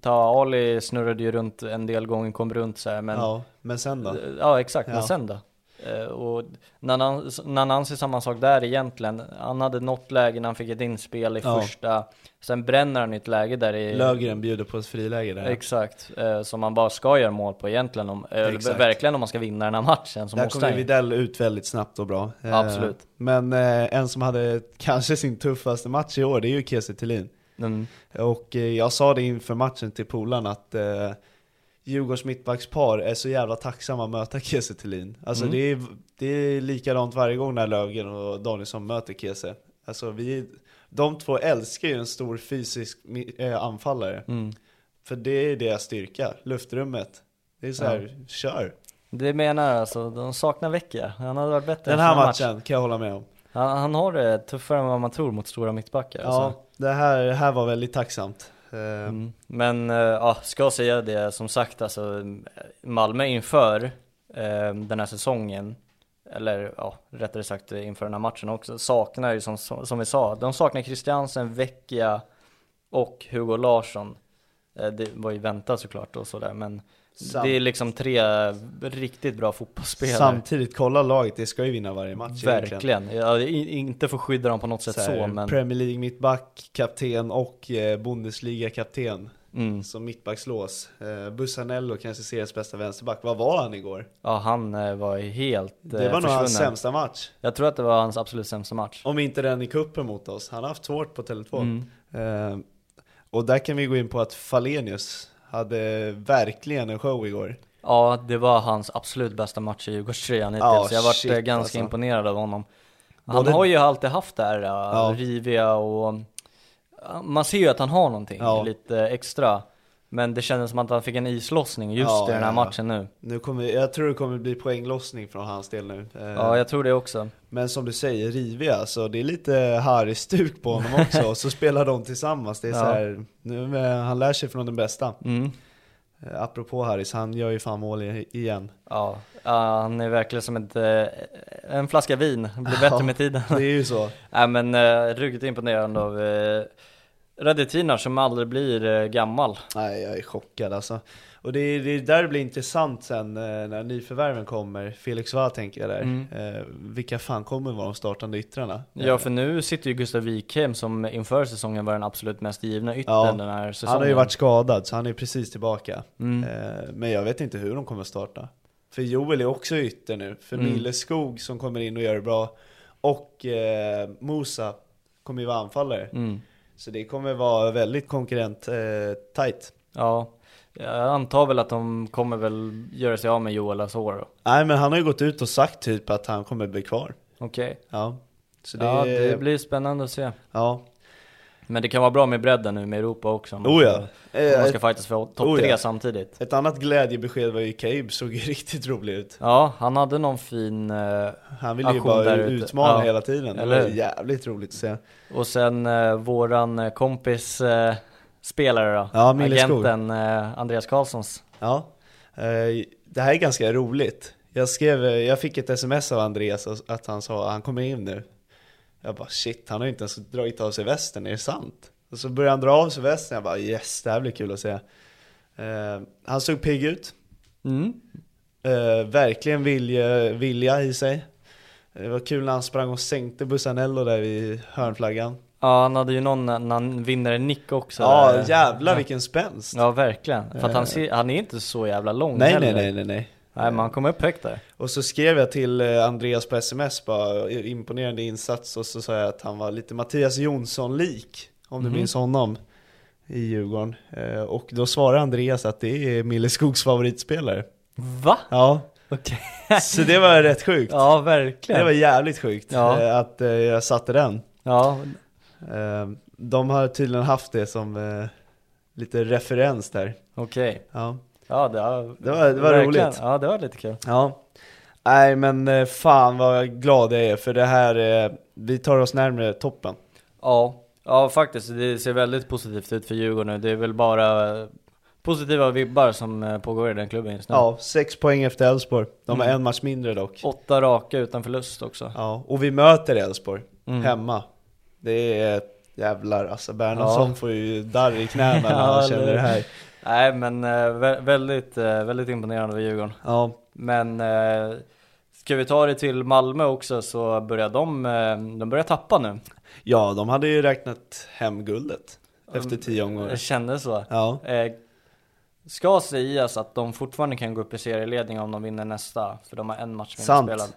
S2: Ta Ali snurrade ju runt en del gånger, kom runt så här, men Eh,
S1: ja. Men sen då?
S2: Ja exakt,
S1: Ja.
S2: men sen då? Eh, Och Nanan- Nanansi samma sak där egentligen. Han hade något läge när han fick ett inspel i
S1: Ja.
S2: första. Sen bränner han i ett läge där i...
S1: Lögren bjuder på ett friläge där.
S2: Exakt, eh, som man bara ska göra mål på egentligen. Om, eh,
S1: Exakt.
S2: verkligen om man ska vinna den här matchen så
S1: Där
S2: måste han
S1: kom ju
S2: ju-
S1: Widell ut väldigt snabbt och bra. Eh,
S2: Absolut.
S1: Men eh, en som hade kanske sin tuffaste match i år, det är ju Kiese Thelin.
S2: Mm.
S1: Och eh, jag sa det inför matchen till polaren att eh, Djurgårdens mittbackspar är så jävla tacksamma att möta Kiese Thelin. Alltså
S2: Mm.
S1: det, är, det är likadant varje gång när Löfgren och Danielsson möter Kiese. Alltså vi, de två älskar ju en stor fysisk mi- eh, anfallare.
S2: Mm.
S1: För det är deras styrka, luftrummet. Det är så här, kör!
S2: Det menar jag alltså, de saknar Vecchia. Han hade varit bättre
S1: Den
S2: i en
S1: här
S2: sån
S1: matchen kan jag hålla med om.
S2: Han, han har det tuffare än vad man tror mot stora mittbackar. alltså.
S1: Ja, det här, det här var väldigt tacksamt. Eh,
S2: Mm. Men eh, ja, ska säga det som sagt alltså Malmö inför eh, den här säsongen eller ja, rättare sagt eh, inför den här matchen också saknar ju som, som vi sa, de saknar Christiansen, Vecchia och Hugo Larsson. Eh, det var ju väntat såklart och sådär men
S1: Samt-
S2: det är liksom tre riktigt bra fotbollsspelare.
S1: Samtidigt, kolla laget, det ska ju vinna varje match egentligen.
S2: Verkligen, ja, i- inte för att skydda dem på något sätt
S1: Så
S2: så,
S1: här,
S2: men
S1: Premier League mittback, kapten och eh, Bundesliga-kapten
S2: mm.
S1: som mittbackslås. Eh, Bussanello, kanske seriens bästa vänsterback. Vad var han igår?
S2: ja, han eh, var ju helt
S1: Det,
S2: eh,
S1: var nog hans
S2: försvunnen.
S1: sämsta match.
S2: Jag tror att det var hans absolut sämsta match.
S1: Om inte den i kuppen mot oss. Han har haft svårt på Tele2.
S2: Mm.
S1: Eh, och där kan vi gå in på att Falenius hade verkligen en show igår.
S2: Ja, det var hans absolut bästa match i Djurgårdströjan hittills.
S1: Ja,
S2: jag har varit
S1: shit,
S2: eh, ganska
S1: alltså.
S2: imponerad av honom. Han
S1: Både-
S2: har ju alltid haft det här eh, riviga och eh, man ser ju att han har någonting
S1: Ja.
S2: lite extra. Men det kändes som att han fick en islossning just
S1: Ja,
S2: i den här
S1: ja, ja.
S2: matchen nu.
S1: Nu kommer, jag tror det kommer bli poänglossning från hans del nu. Eh,
S2: Ja, jag tror det också.
S1: Men som du säger, riviga, så det är lite Harry-stuk på honom också, och så spelar de tillsammans. Det är så
S2: Ja.
S1: här, nu, eh, han lär sig från den bästa.
S2: Mm.
S1: Eh, Apropå Harris, han gör ju fan mål i- igen.
S2: Ja, ja, han är verkligen som ett, eh, en flaska vin, blir bättre
S1: Ja.
S2: med tiden.
S1: Det är ju så.
S2: Nej men eh, ruggigt imponerande av eh, Radetinac som aldrig blir eh, gammal.
S1: Nej, jag är chockad alltså. Och det är, det är där det blir intressant sen eh, när nyförvärven kommer, Felix Wall tänker jag där.
S2: Mm.
S1: Eh, vilka fan kommer vara de startande yttrarna?
S2: Ja för nu sitter ju Gustav Wikheim som inför säsongen var den absolut mest givna yttern
S1: Ja,
S2: den här säsongen.
S1: han har ju varit skadad, så han är precis tillbaka.
S2: Mm.
S1: Eh, Men jag vet inte hur de kommer starta. För Joel är också ytter nu. För
S2: Mm.
S1: Mille Skog som kommer in och gör det bra. Och eh, Musa kommer ju vara anfallare.
S2: Mm.
S1: Så det kommer vara väldigt konkurrent eh, tight.
S2: Ja, jag antar väl att de kommer väl göra sig av med Joel Asoro.
S1: Nej men han har ju gått ut och sagt typ att han kommer bli kvar.
S2: Okej,
S1: Ja. Så det,
S2: ja det blir spännande att se.
S1: Ja.
S2: Men det kan vara bra med bredden nu med Europa också. Om man
S1: Oh
S2: ska-
S1: ja.
S2: Om man
S1: Eh,
S2: ska fightas för topp
S1: Oh ja.
S2: tre samtidigt.
S1: Ett annat glädjebesked var ju Cabe såg ju riktigt rolig ut.
S2: Ja, han hade någon fin eh,
S1: Han ville ju
S2: Aktion
S1: bara
S2: där ute.
S1: utmana
S2: Ja.
S1: hela tiden. Det
S2: Eller
S1: var
S2: hur?
S1: jävligt roligt att se.
S2: Och sen eh, våran eh, kompis eh, spelare då,
S1: Ja, Mille Skog.
S2: agenten eh, Andreas Karlssons.
S1: Ja, eh, det här är ganska roligt. Jag, skrev, eh, jag fick ett sms av Andreas och- att han sa han kommer in nu. Jag bara shit, han har ju inte ens dragit av sig västen, är det sant? Och så började han dra av sig västen, jag bara yes, det här blir kul att se. Eh, han såg pigg ut, Mm. eh, verkligen vilja, vilja i sig. Det var kul när han sprang och sänkte Bussanello där vid hörnflaggan.
S2: Ja, han hade ju någon när när han vinner en nick också.
S1: eh, Ja
S2: där.
S1: jävlar vilken spänst!
S2: Ja, verkligen. För att han, ser, han är inte så jävla lång
S1: nej,
S2: heller.
S1: nej nej nej nej.
S2: Nej, men han kom upp högt där.
S1: Och så skrev jag till eh, Andreas på sms bara imponerande insats och så sa jag att han var lite Mattias Jonsson-lik om
S2: Mhm.
S1: du minns honom i Djurgården. Eh, Och då svarade Andreas att det är Mille Skogs favoritspelare.
S2: Va?
S1: Ja,
S2: Okej.
S1: så det var rätt sjukt.
S2: Ja,
S1: Det var
S2: verkligen.
S1: jävligt sjukt
S2: Ja.
S1: eh, att eh, jag satte den.
S2: Ja,
S1: Eh, De har tydligen haft det som eh, lite referens där.
S2: okej.
S1: Ja.
S2: Ja, det var,
S1: Det var- det var
S2: verkligen.
S1: roligt.
S2: Ja, det var lite kul.
S1: Ja. Nej men eh, fan vad glad jag är för det här, eh, vi tar oss närmare toppen.
S2: Ja, ja faktiskt. Det ser väldigt positivt ut för Djurgården nu. Det är väl bara eh, positiva vibbar som eh, pågår i den klubben just nu.
S1: Ja, sex poäng efter Elfsborg. De har
S2: Mm.
S1: en match mindre dock.
S2: Åtta raka utan förlust också.
S1: Ja, och vi möter Elfsborg
S2: Mm.
S1: hemma. Det är jävlar alltså, Bernhardsson
S2: Ja.
S1: får ju darr i knäna när
S2: Ja,
S1: han
S2: eller
S1: känner
S2: hur?
S1: det här.
S2: Nej, men eh, vä- väldigt, eh, väldigt imponerande för Djurgården.
S1: Ja,
S2: Men eh, ska vi ta det till Malmö också så börjar de, eh, de börjar tappa nu.
S1: ja, de hade ju räknat hem guldet efter tio
S2: Det
S1: omgångar.
S2: kändes så.
S1: Ja,
S2: Eh, ska sägas att de fortfarande kan gå upp i serieledning om de vinner nästa, för de har en match mindre
S1: Sant.
S2: spelad.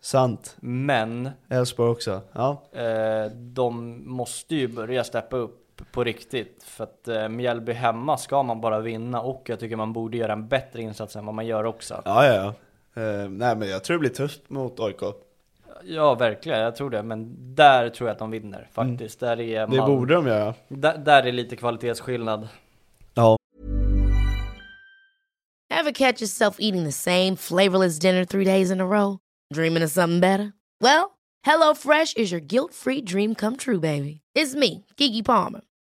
S1: sant.
S2: Men
S1: Elfsborg också. Ja,
S2: eh, de måste ju börja steppa upp på riktigt, för att eh, Mjällby hemma ska man bara vinna och jag tycker man borde göra en bättre insats än vad man gör också.
S1: ja, ja. ja. Eh, nej men jag tror det blir tufft mot AIK.
S2: Ja, verkligen, jag tror det, men där tror jag att de vinner faktiskt. Där är
S1: Mm. Det
S2: Malm-
S1: borde de göra.
S2: Där, där är lite kvalitetsskillnad.
S1: Ja.
S5: Ever catch yourself eating the same flavorless dinner three days in a row? Dreaming of something better? Well, HelloFresh is your guilt-free dream come true, baby. It's me, Gigi Palmer.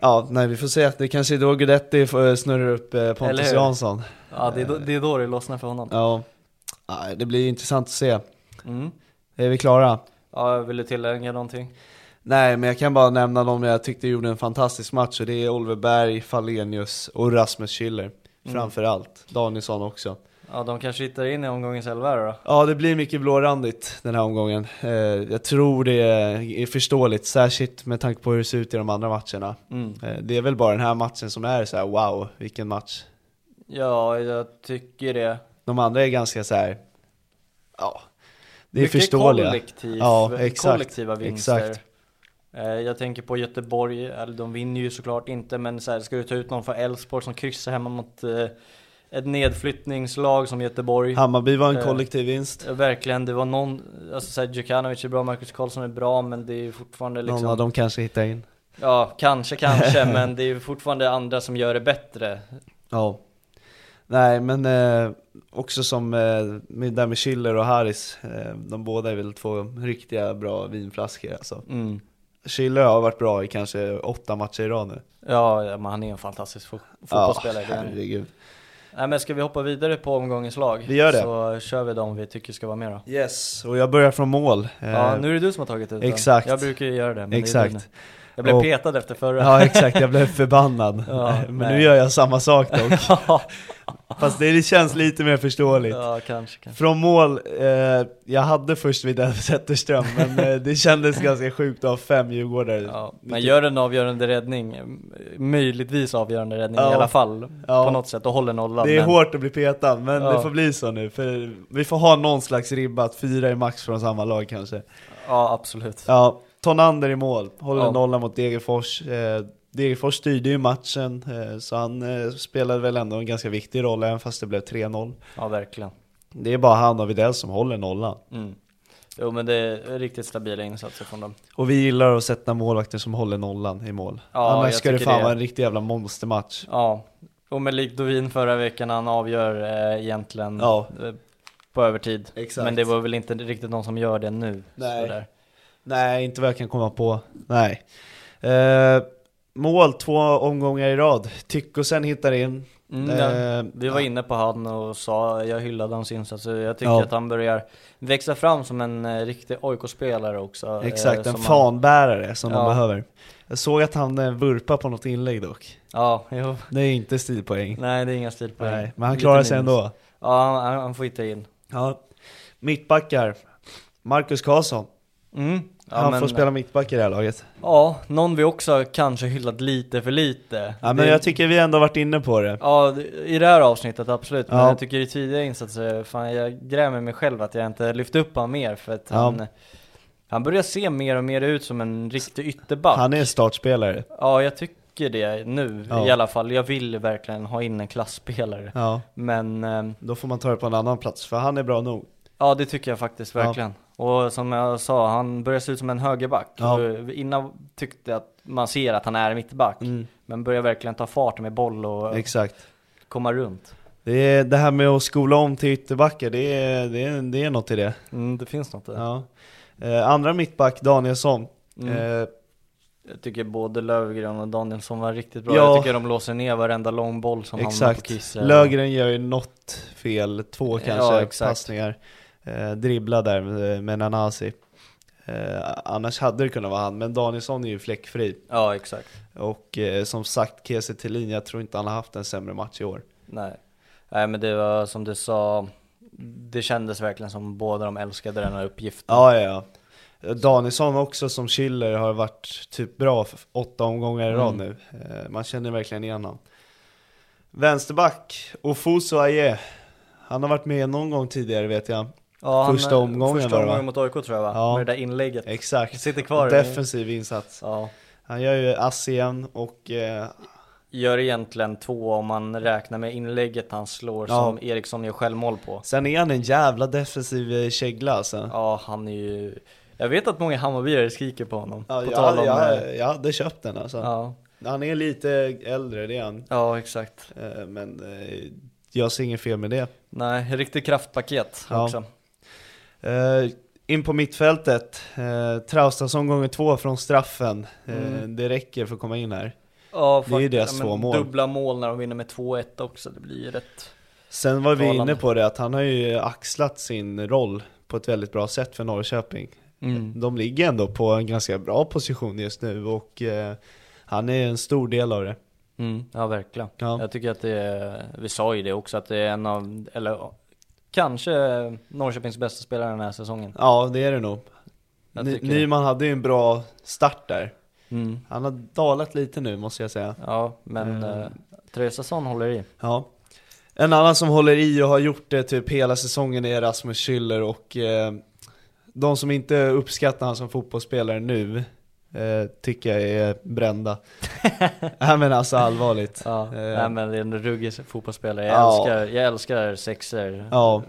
S1: Ja, nej vi får se. Det kanske är då Guidetti får- snurrar upp eh,
S2: Eller
S1: Pontus
S2: hur?
S1: Jansson.
S2: Ja, det är, då, det är då det lossnar för honom.
S1: Ja. Nej, det blir intressant att se.
S2: Mm.
S1: Är vi klara?
S2: Ja, vill du tillägga någonting?
S1: Nej, men jag kan bara nämna någon jag tyckte gjorde en fantastisk match och det är Oliver Berg, Fallenius och Rasmus Schiller.
S2: Mm.
S1: Framförallt. Danielsson också.
S2: Ja, de kanske hittar in i omgångens elva då.
S1: Ja, det blir mycket blårandigt den här omgången. Eh, jag tror det är förståeligt, särskilt med tanke på hur det ser ut i de andra matcherna.
S2: Mm.
S1: Eh, det är väl bara den här matchen som är så här: wow, vilken match.
S2: Ja, jag tycker det.
S1: De andra är ganska så här. ja, det är
S2: Mycket
S1: förståeliga.
S2: Kollektiv,
S1: Ja, exakt,
S2: kollektiva vinster.
S1: exakt.
S2: Eh, Jag tänker på Göteborg, eller de vinner ju såklart inte, men så här, ska du ta ut någon från Elfsborg som kryssar hemma mot eh, ett nedflyttningslag som Göteborg?
S1: Hammarby var en
S2: Eh,
S1: kollektiv vinst.
S2: Ja, Verkligen, det var någon, alltså såhär Djukanovic är bra, Marcus Karlsson är bra, men det är ju fortfarande liksom
S1: Någon av dem kanske hittar in.
S2: Ja, kanske, kanske, men det är ju fortfarande andra som gör det bättre.
S1: Ja. Nej men eh, också som eh, med, där med Schiller och Harris, eh, de båda är väl två riktiga bra vinflaskor alltså.
S2: Mm.
S1: Schiller har varit bra i kanske åtta matcher i rad nu.
S2: Ja, ja, men han är en fantastisk fo- fotbollsspelare. det är han.
S1: herregud.
S2: Nej, men ska vi hoppa vidare på omgångens lag?
S1: Vi gör det.
S2: Så kör vi dem vi tycker ska vara med då.
S1: Yes, och jag börjar från mål. Eh,
S2: Ja, nu är det du som har tagit ut den.
S1: exakt.
S2: Jag brukar ju göra det, men det är du
S1: Exakt.
S2: Jag blev
S1: Och-
S2: petad efter förra.
S1: Ja exakt, jag blev förbannad.
S2: Ja,
S1: men
S2: nej.
S1: nu gör jag samma sak dock. Fast det känns lite mer förståeligt.
S2: ja, kanske, kanske.
S1: Från mål, eh, jag hade först vid Zetterström, men eh, det kändes ganska sjukt att ha fem djurgårdare.
S2: Ja, men gör en avgörande räddning, m- möjligtvis avgörande räddning
S1: Ja.
S2: i alla fall,
S1: Ja.
S2: på något sätt, och håller nollan.
S1: Det är
S2: men,
S1: hårt att bli petad, men
S2: Ja.
S1: det får bli så nu. För vi får ha någon slags ribba, att fyra är max från samma lag kanske.
S2: Ja, absolut.
S1: Ja, Tonander i mål, håller
S2: Ja.
S1: nollan mot Degerfors. Eh, Degerfors styrde ju matchen, eh, så han eh, spelade väl ändå en ganska viktig roll, även fast det blev 3-0.
S2: Ja, verkligen.
S1: Det är bara han och Widell som håller nollan.
S2: Mm. Jo, men det är riktigt stabila insatser från dem.
S1: Och vi gillar att sätta målvakter som håller nollan i mål.
S2: Ja,
S1: Annars
S2: jag
S1: ska det
S2: tycker
S1: fan
S2: det.
S1: vara en riktig jävla monstermatch.
S2: Ja, och med likt Dovin förra veckan, han avgör eh, egentligen
S1: Ja.
S2: eh, på övertid.
S1: Exakt.
S2: Men det var väl inte riktigt någon som gör det nu.
S1: Nej.
S2: sådär.
S1: Nej, inte vad jag kan komma på. Nej. Eh, mål två omgångar i rad. Tyckosen hittar in.
S2: Mm, ja.
S1: Eh,
S2: Vi var inne på han och sa, jag hyllade hans insatser, jag tycker
S1: Ja.
S2: att han börjar växa fram som en eh, riktig AIK-spelare också.
S1: Exakt,
S2: eh,
S1: en
S2: som han-
S1: fanbärare som de
S2: Ja.
S1: behöver. Jag såg att han eh, vurpar på något inlägg dock.
S2: Ja, jo.
S1: Det är inte stilpoäng.
S2: Nej det är inga stilpoäng.
S1: Nej, men han
S2: Lite
S1: klarar sig
S2: minus.
S1: ändå.
S2: Ja, han- han, han får hitta in.
S1: Ja. Mittbackar. Marcus Karlsson.
S2: Mm. Ja,
S1: han
S2: men-
S1: får spela mittback i det här laget.
S2: Ja, någon vi också kanske hyllat lite för lite.
S1: Ja, men
S2: Det-
S1: jag tycker vi ändå varit inne på det.
S2: Ja, det- i det här avsnittet absolut, men
S1: Ja.
S2: jag tycker i tidigare insatser, fan jag grämer mig själv att jag inte lyft upp honom mer för att
S1: Ja.
S2: han, han börjar se mer och mer ut som en riktig ytterback.
S1: Han är startspelare.
S2: Ja, jag tycker det nu
S1: Ja.
S2: i alla fall. Jag vill verkligen ha in en klassspelare.
S1: Ja.
S2: Men ehm,
S1: Då får man ta det på en annan plats, för han är bra nog.
S2: ja, det tycker jag faktiskt
S1: Ja.
S2: verkligen. Och som jag sa, han börjar se ut som en högerback.
S1: Ja.
S2: Och Innan tyckte jag att man ser att han är mittback,
S1: Mm.
S2: men börjar verkligen ta fart med boll och
S1: Exakt.
S2: komma runt.
S1: Det, är, det här med att skola om till ytterbackar, det är, det är, det är något i det.
S2: Mm, det finns något där. Mm.
S1: Ja. Eh, andra mittback, Danielsson. Eh,
S2: Jag tycker både Lövgren och Danielsson var riktigt bra.
S1: Ja.
S2: Jag tycker de låser ner varenda lång boll som hamnar på
S1: exakt.
S2: Kiese.
S1: Lögren gör ju något fel, två kanske
S2: exakt.
S1: passningar. Eh, dribbla där med, med Nanasi. Eh, annars hade det kunnat vara han, men Danielsson är ju fläckfri.
S2: Ja, exakt.
S1: Och eh, som sagt, Kiese Thelin, jag tror inte han har haft en sämre match i år.
S2: Nej. Nej, men det var som du sa, det kändes verkligen som båda de älskade den här uppgiften.
S1: Ja, ja, ja. Danielsson också som Schiller har varit typ bra för åtta omgångar i rad nu. Eh, Man känner verkligen igen honom. Vänsterback, Ofuso Aye. Han har varit med någon gång tidigare vet jag.
S2: Ja, han-
S1: första omgången
S2: Första
S1: var det, va?
S2: omgången mot AIK tror jag va?
S1: Ja.
S2: Med det där inlägget.
S1: Exakt.
S2: Sitter kvar.
S1: Defensiv insats.
S2: Ja.
S1: Han gör ju ass igen och eh,
S2: Gör egentligen två om man räknar med inlägget han slår
S1: Ja.
S2: som Eriksson gör självmål på.
S1: sen är han en jävla defensiv eh, kägla alltså.
S2: Ja, han är ju... Jag vet att många Hammarbyare skriker på honom.
S1: Ja,
S2: på
S1: jag,
S2: eh,
S1: jag, jag hade köpt den alltså.
S2: ja.
S1: Han är lite äldre, det är han.
S2: ja, exakt.
S1: Eh, Men eh, jag ser inget fel med det.
S2: Nej, riktigt kraftpaket
S1: Ja.
S2: också.
S1: Eh, in på mittfältet, uh, Traustason gånger två från straffen. Eh,
S2: Mm.
S1: Det räcker för att komma in här.
S2: Ja,
S1: Det är ju
S2: faktiskt.
S1: deras
S2: Ja, men
S1: två mål.
S2: Dubbla mål när de vinner med 2-1 också, det blir ju rätt.
S1: Sen var vi
S2: Talande.
S1: inne på det att han har ju axlat sin roll på ett väldigt bra sätt för Norrköping.
S2: Mm.
S1: De ligger ändå på en ganska bra position just nu och eh, han är en stor del av det.
S2: Mm, Ja, verkligen.
S1: Ja.
S2: Jag tycker att det är, vi sa ju det också, att det är en av, eller kanske Norrköpings bästa spelare den här säsongen.
S1: Ja, det är det nog.
S2: Jag
S1: Ny-
S2: tycker det.
S1: Nyman hade ju en bra start där.
S2: Mm.
S1: Han har dalat lite nu måste jag säga.
S2: Ja, men
S1: Eh.
S2: mm. Traustason håller i.
S1: Ja. En annan som håller i och har gjort det typ hela säsongen är Rasmus Schüller och eh, de som inte uppskattar han som fotbollsspelare nu eh, tycker jag är brända. Nej men alltså allvarligt.
S2: Ja,
S1: Eh,
S2: nej men det är en ruggig fotbollsspelare. Jag,
S1: Ja.
S2: älskar, jag älskar sexer.
S1: ja.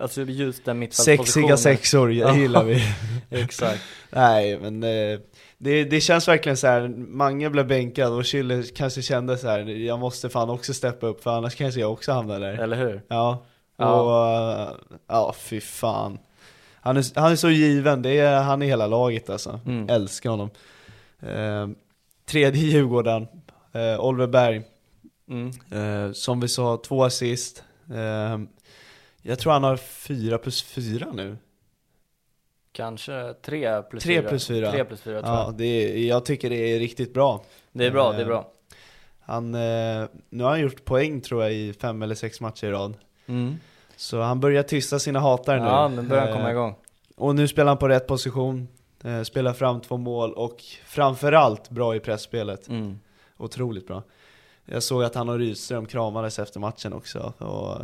S2: Alltså just den mittfältspositionen.
S1: Sexiga sexor
S2: Ja.
S1: gillar vi.
S2: Exakt.
S1: Nej men eh, det, det känns verkligen så här. Mange blev bänkad och Schüller kanske kände så här. jag måste fan också steppa upp för annars kanske jag också hamnar där.
S2: Eller hur?
S1: Ja, och
S2: Ja.
S1: ja, fy fan. Han är, han är så given, det är, han är hela laget alltså.
S2: Mm.
S1: Älskar honom. Eh, tredje Djurgården, eh, Oliver Berg.
S2: Mm.
S1: Eh, som vi sa, två Ehm, assist. Eh, jag tror han har fyra plus fyra nu.
S2: Kanske tre plus
S1: Tre
S2: fyra.
S1: plus fyra.
S2: Tre plus fyra tror
S1: Ja,
S2: jag.
S1: det är, jag tycker det är riktigt bra.
S2: Det är bra,
S1: Eh,
S2: det är bra.
S1: Han, eh, nu har han gjort poäng tror jag i fem eller sex matcher i rad.
S2: Mm.
S1: Så han börjar tysta sina hatare nu.
S2: Ja, nu börjar han komma
S1: Eh,
S2: igång.
S1: Och nu spelar han på rätt position, eh, spelar fram två mål och framförallt bra i pressspelet.
S2: Mm.
S1: Otroligt bra. Jag såg att han och Rydström kramades efter matchen också. Och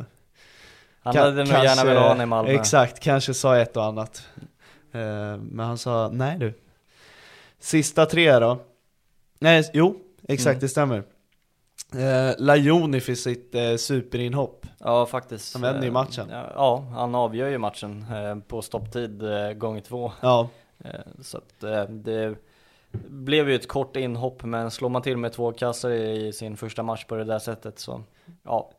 S2: Han
S1: ka-
S2: hade nog gärna
S1: kanske-
S2: velat ha honom i Malmö.
S1: Exakt, kanske sa ett och annat. Eh, Men han sa nej du. Sista tre då. Nej, s- jo, exakt
S2: Mm.
S1: det stämmer. Eh, Lajoni för sitt eh, superinhopp.
S2: Ja, faktiskt.
S1: Han vänder ju matchen.
S2: Eh, Ja, han avgör ju matchen eh, på stopptid eh, gånger två.
S1: Ja,
S2: Eh, Så att eh, det blev ju ett kort inhopp, men slår man till med två kassar i sin första match på det där sättet så, ja,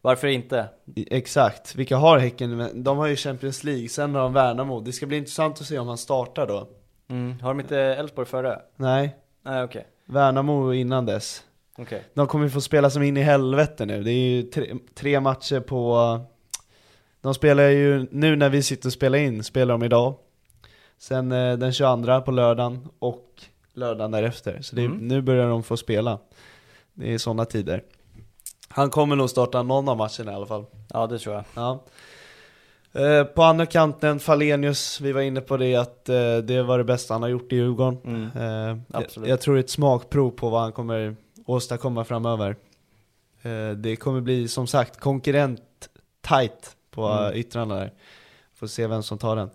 S2: varför inte?
S1: i- exakt. Vilka har Häcken? Men De har ju Champions League, sen har de Värnamo. Det ska bli intressant att se om han startar då.
S2: Mm. Har de inte Elfsborg före?
S1: Nej,
S2: Nej, okej.
S1: Värnamo innan dess.
S2: Okej.
S1: De kommer ju få spela som in i helvete nu. Det är ju tre, tre matcher på... De spelar ju, nu när vi sitter och spelar in, spelar de idag. Sen eh, den 22 på lördagen och lördagen därefter. Så det, är-
S2: Mm.
S1: nu börjar de få spela. Det är sådana tider. Han kommer nog starta någon av matcherna i alla fall.
S2: Ja, det tror jag.
S1: Ja. Eh, på andra kanten, Falenius, vi var inne på det att eh, det var det bästa han har gjort i Djurgården.
S2: Mm.
S1: Eh, jag,
S2: Absolut.
S1: jag tror det är ett smakprov på vad han kommer åstadkomma framöver. Eh, det kommer bli som sagt konkurrent tight på
S2: Mm.
S1: eh, yttrarna där. Får se vem som tar den.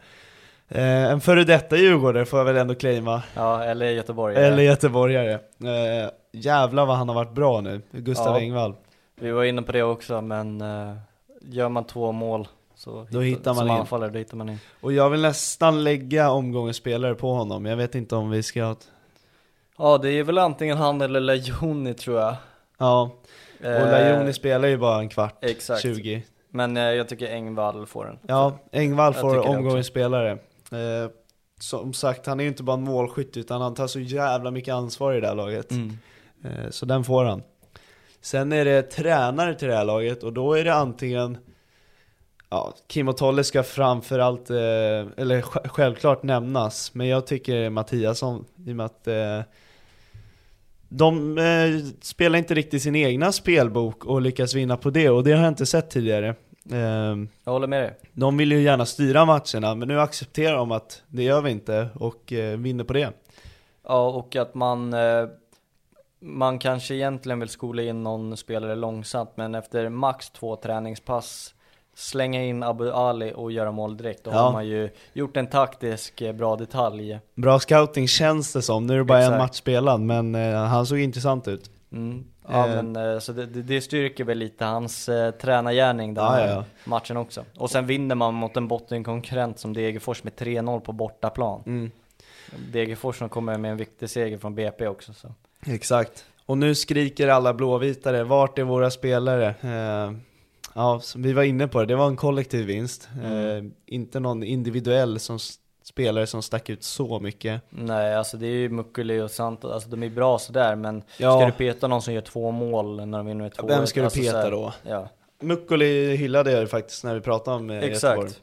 S1: Eh, en före detta djurgårdare får jag väl ändå claima.
S2: Ja, eller Göteborg.
S1: Eller göteborgare. Eh, jävlar vad han har varit bra nu, Gustav
S2: Ja.
S1: Engvall.
S2: Vi var inne på det också, men eh, gör man två mål så
S1: Då hittar man
S2: som
S1: in.
S2: anfallare, då hittar man in.
S1: Och jag vill nästan lägga omgångens spelare på honom. Jag vet inte om vi ska ha ett
S2: Ja, det är väl antingen han eller Lejoni tror jag.
S1: Ja, och
S2: Eh,
S1: Lajoni spelar ju bara en kvart,
S2: Exakt.
S1: 20.
S2: Men eh, jag tycker Engvall får den.
S1: Ja, Engvall
S2: Jag
S1: får
S2: tycker det
S1: omgångens
S2: också.
S1: spelare. Eh, som sagt, han är ju inte bara en målskytt utan han tar så jävla mycket ansvar i det här laget.
S2: Mm.
S1: Eh, så den får han. Sen är det tränare till det här laget och då är det antingen Ja, Kim och Tolle ska framförallt, eh, eller sj- självklart nämnas, men jag tycker Mattiasson i och med att eh, de eh, spelar inte riktigt sin egna spelbok och lyckas vinna på det och det har jag inte sett tidigare. Ehm,
S2: Jag håller med dig.
S1: de vill ju gärna styra matcherna, men nu accepterar de att det gör vi inte och eh, vinner på det.
S2: Ja, och att man, eh, man kanske egentligen vill skola in någon spelare långsamt, men efter max två träningspass slänga in Abu Ali och göra mål direkt. Då
S1: Ja.
S2: har man ju gjort en taktisk eh, bra detalj.
S1: Bra scouting känns det som, nu är det bara en
S2: Exakt.
S1: match spelad, men eh, han såg intressant ut.
S2: Mm. Ja,
S1: Eh.
S2: men, eh, så det, det det styrker väl lite hans eh, tränargärning den
S1: Ja,
S2: här
S1: ja, ja.
S2: matchen också. Och sen vinner man mot en bottenkonkurrent som Degerfors med 3-0 på bortaplan.
S1: Mm.
S2: Degerfors som kommer med en viktig seger från BP också. Så.
S1: Exakt. Och nu skriker alla blåvitare, vart är våra spelare? Eh, ja, som vi var inne på det, det var en kollektiv vinst. Eh, inte någon individuell som s- spelare som stack ut så mycket.
S2: Nej, alltså det är ju Mukkeli och Santos, alltså de är bra sådär men
S1: Ja.
S2: ska du peta någon som gör två mål när de vinner med 2-1?
S1: Vem ska du
S2: alltså,
S1: peta
S2: såhär,
S1: då?
S2: Ja,
S1: Mukkoli hyllade jag ju faktiskt när vi pratade om eh, Göteborg.
S2: exakt.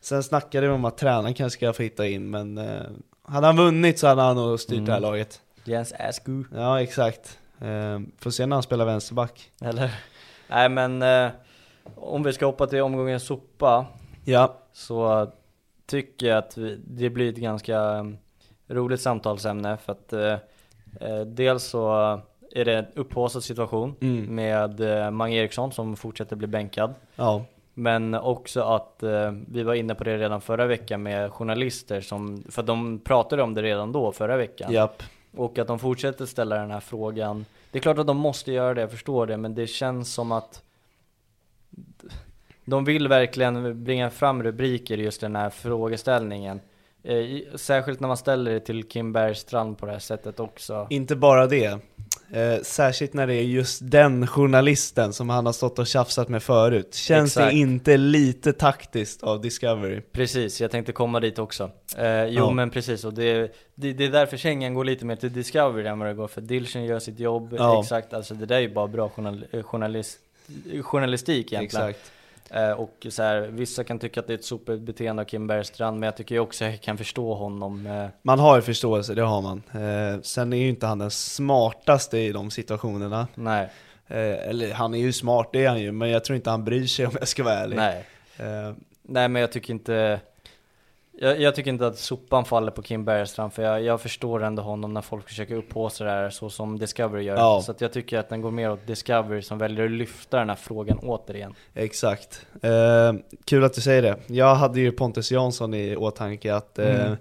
S1: Sen snackade vi om att tränaren kanske ska få hitta in, men eh, hade han vunnit så hade han nog styrt det här
S2: Mm.
S1: laget.
S2: Jens Asku,
S1: Ja, exakt. Eh, får se när han spelar vänsterback.
S2: eller? Nej men, eh, om vi ska hoppa till omgången sopa
S1: Ja,
S2: så tycker jag att vi, det blir ett ganska eh, roligt samtalsämne för att eh, eh, dels så är det en upphaussad situation
S1: Mm.
S2: med eh, Mange Eriksson som fortsätter bli bänkad.
S1: ja,
S2: Men också att eh, vi var inne på det redan förra veckan med journalister som, för att de pratade om det redan då förra veckan.
S1: japp.
S2: Och att de fortsätter ställa den här frågan. Det är klart att de måste göra det, jag förstår det, men det känns som att de vill verkligen bringa fram rubriker i just den här frågeställningen. Eh, i- Särskilt när man ställer det till Kim Bergstrand på det här sättet också.
S1: Inte bara det. Eh, särskilt när det är just den journalisten som han har stått och tjafsat med förut. Känns
S2: Exakt.
S1: det inte lite taktiskt av Discovery?
S2: Precis, jag tänkte komma dit också. Eh, jo
S1: Ja.
S2: men precis, och det, det, det är därför kängan går lite mer till Discovery än vad det går för Dilchen gör sitt jobb,
S1: Ja.
S2: exakt, alltså det där är ju bara bra journal, eh, journalis- eh, journalistik egentligen.
S1: Exakt.
S2: Eh, Och så här, vissa kan tycka att det är ett sopigt beteende av Kim Bergstrand, men jag tycker ju också jag kan förstå honom. eh,
S1: Man har ju förståelse, det har man. Eh, sen är ju inte han den smartaste i de situationerna.
S2: Nej,
S1: Eh, eller han är ju smart, det är han ju, men jag tror inte han bryr sig om jag ska vara ärlig.
S2: nej.
S1: Eh,
S2: Nej, men jag tycker inte... Jag, jag tycker inte att sopan faller på Kim Bergstrand, för jag, jag förstår ändå honom när folk försöker upphåsa det här så som Discovery gör.
S1: Ja.
S2: Så att jag tycker att den går mer åt Discovery som väljer att lyfta den här frågan återigen.
S1: Exakt. Eh, kul att du säger det. Jag hade ju Pontus Jansson i åtanke att eh,
S2: Mm.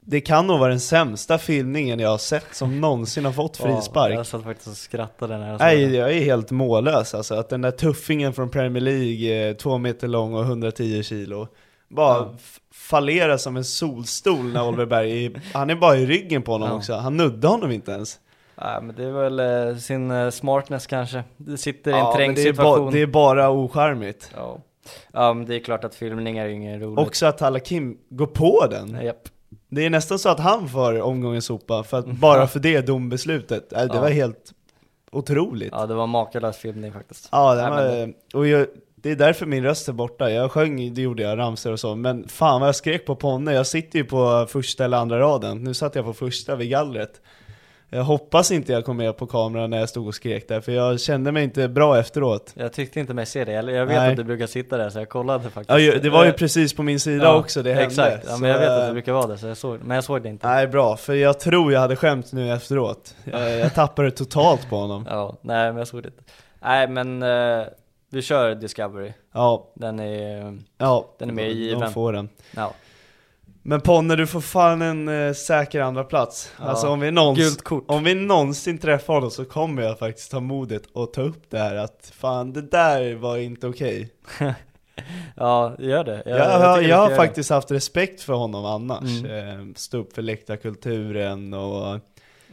S1: det kan nog vara den sämsta filmningen jag har sett som någonsin har fått frispark.
S2: Ja, jag satt faktiskt och skrattade när jag såg
S1: Nej,
S2: den.
S1: jag är helt mållös alltså. Att den där tuffingen från Premier League, eh, två meter lång och 110 kilo, bara f- fallerar som en solstol när Oliver Berg, är, han är bara i ryggen på honom
S2: Ja.
S1: också. Han nuddar honom inte ens.
S2: Ja, men det är väl eh, sin eh, smartness kanske. Det sitter i en
S1: Ja, men
S2: trängd
S1: det, är ba-
S2: situation.
S1: det är bara ocharmigt.
S2: Ja. ja, men det är klart att filmningar är ju inget roligt.
S1: Också att Halakim går på den.
S2: Japp.
S1: Det är nästan så att han får omgången sopa, för att bara för det dombeslutet. Äh, Det
S2: Ja.
S1: var helt otroligt. Ja,
S2: Ja, det var en makalös filmning faktiskt.
S1: det,
S2: Nej,
S1: var, och jag, det är därför min röst är borta. Jag sjöng, det gjorde jag, ramsor och så, men fan vad jag skrek på Ponne. Jag sitter ju på första eller andra raden. Nu satt jag på första vid gallret. Jag hoppas inte jag kom med på kameran när jag stod och skrek där, för jag kände mig inte bra efteråt.
S2: Jag tyckte inte mig se det, eller jag vet
S1: Nej.
S2: att du brukar sitta där så jag kollade faktiskt.
S1: Ja, ju- det var ju
S2: Eh,
S1: precis på min sida
S2: ja,
S1: också det hände.
S2: Exakt, ja,
S1: så,
S2: men jag vet att
S1: eh,
S2: det brukar vara det, så jag såg, men jag såg det inte.
S1: Nej bra, för jag tror jag hade skämt nu efteråt. Eh, Jag, jag tappade totalt på honom.
S2: Ja, nej men jag såg det inte. Nej men eh, vi kör Discovery,
S1: Ja,
S2: den är, eh,
S1: ja.
S2: Den är mer
S1: de- De
S2: given.
S1: får den.
S2: ja.
S1: Men Ponne, du får fan en eh, säker andra plats. Alltså om vi, någons,
S2: Gult kort.
S1: om vi någonsin träffar honom så kommer jag faktiskt ta modet och ta upp det här att fan det där var inte okej.
S2: ja gör det.
S1: Jag, jag,
S2: tycker vi
S1: jag har
S2: ska Mm. göra det.
S1: faktiskt haft respekt för honom annars. Eh, Stå upp för läktarkulturen och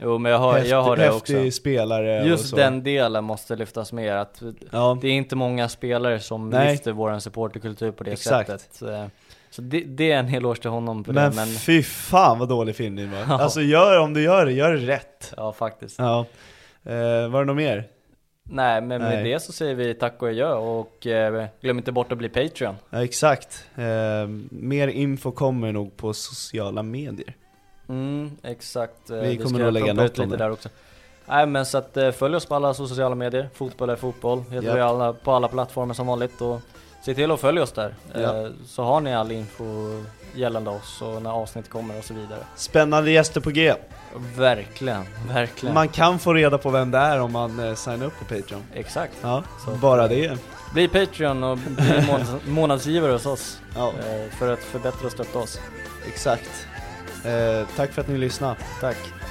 S2: Jo men jag har,
S1: häftig,
S2: jag har det också.
S1: häftig spelare och
S2: Just
S1: så.
S2: den delen måste lyftas mer, att
S1: Ja.
S2: det är inte många spelare som
S1: Nej.
S2: lyfter våran supporterkultur på det
S1: Exakt.
S2: sättet. Eh, Så det, det är en eloge till honom för
S1: Men,
S2: det, men
S1: fy fan vad dålig film det var. Alltså gör, om du gör det, gör det rätt.
S2: ja faktiskt.
S1: Ja. Eh, var det något mer?
S2: Nej, men
S1: Nej.
S2: med det så säger vi tack och adjö och eh, glöm inte bort att bli Patreon.
S1: Ja, exakt. Eh, mer info kommer nog på sociala medier.
S2: Mm, exakt. Eh,
S1: Vi kommer
S2: ska
S1: nog lägga
S2: pumpa ut
S1: något om
S2: lite
S1: det.
S2: där också. Nej, men så att eh, följ oss på alla sociala medier. Fotboll är fotboll. Heter
S1: Japp.
S2: vi alla, på alla plattformar som vanligt och se till att följa oss där. Eh,
S1: Japp.
S2: så har ni all info gällande oss och när avsnitt kommer och så vidare.
S1: Spännande gäster på G.
S2: Verkligen, verkligen.
S1: Man kan få reda på vem det är om man eh, signar upp på Patreon.
S2: Exakt.
S1: Ja,
S2: Så.
S1: bara det.
S2: Bli Patreon och bli månads- månadsgivare hos oss
S1: Ja,
S2: eh, för att förbättra och stötta oss.
S1: exakt. Eh, tack för att ni lyssnade.
S2: Tack.